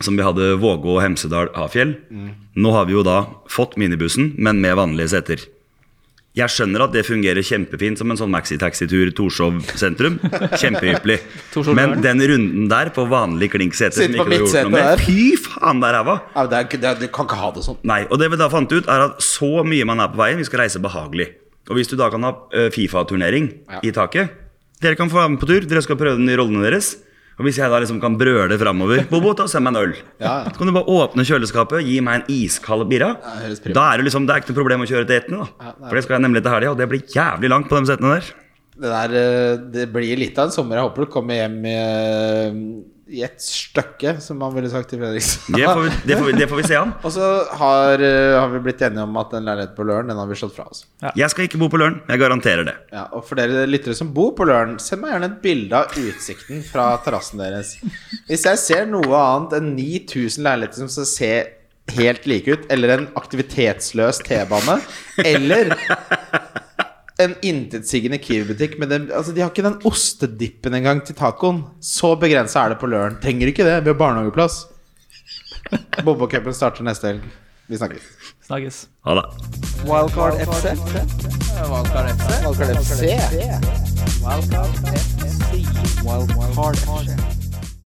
Speaker 5: som vi hadde Vågå, Hemsedal, Hafjell.
Speaker 3: Mm.
Speaker 5: Nå har vi jo da fått minibussen, men med vanlige seter. Jeg skjønner at det fungerer kjempefint som en sånn maxitaxitur Torshov sentrum. Kjempehyppelig.
Speaker 4: Torshov
Speaker 5: Men
Speaker 4: Løren.
Speaker 5: den runden der på vanlig klinkseter
Speaker 3: Sitte
Speaker 5: som
Speaker 3: på
Speaker 5: ikke ble
Speaker 3: mitt
Speaker 5: gjort
Speaker 3: sete
Speaker 5: noe med,
Speaker 3: der.
Speaker 5: fy faen, der ræva!
Speaker 3: Ja, det er, ikke- det er, du kan ikke ha det sånn.
Speaker 5: Nei, og det vi da fant ut er at så mye man er på veien, vi skal reise behagelig. Og hvis du da kan ha eh, Fifa-turnering
Speaker 3: Ja.
Speaker 5: i taket Dere kan få være med på tur, dere skal prøve de nye rollene deres. Og hvis jeg da liksom kan brøle framover Bobo, ta og send meg en øl.
Speaker 3: Ja, ja.
Speaker 5: Så kan du bare åpne kjøleskapet, gi meg en iskald birra.
Speaker 3: det høres prima.
Speaker 5: da er det liksom, det er ikke noe problem å kjøre til Etne, da.
Speaker 3: nei.
Speaker 5: For det skal jeg nemlig til helga, og det blir jævlig langt på de setene der.
Speaker 3: Det, der, eh, det blir litt av en sommer. Jeg håper du kommer hjem i, eh, i et stykke, som man ville sagt i Fredrikstad.
Speaker 5: Det får vi, det får vi, det får vi se an.
Speaker 3: Og så har, eh, har vi blitt enige om at den leiligheten på Løren, den har vi slått fra oss.
Speaker 5: Jeg skal ikke bo på Løren, jeg garanterer det.
Speaker 3: Ja, og for dere lyttere som bor på Løren, send meg gjerne et bilde av utsikten fra terrassen deres. Hvis jeg ser noe annet enn 9000 leiligheter som skal se helt like ut, eller en aktivitetsløs T-bane, eller en intetsigende Kiwi-butikk, men den, altså, de har ikke den ostedippen engang til tacoen. Så begrensa er det på Løren. Trenger ikke det. Vi har barnehageplass. Bobokupen starter neste helg. Vi snakkes.
Speaker 4: Snakkes.
Speaker 5: Ha det.
Speaker 2: Wildcard FC. Wildcard FC. Wildcard FC. Wildcard FC. Wildcard FC.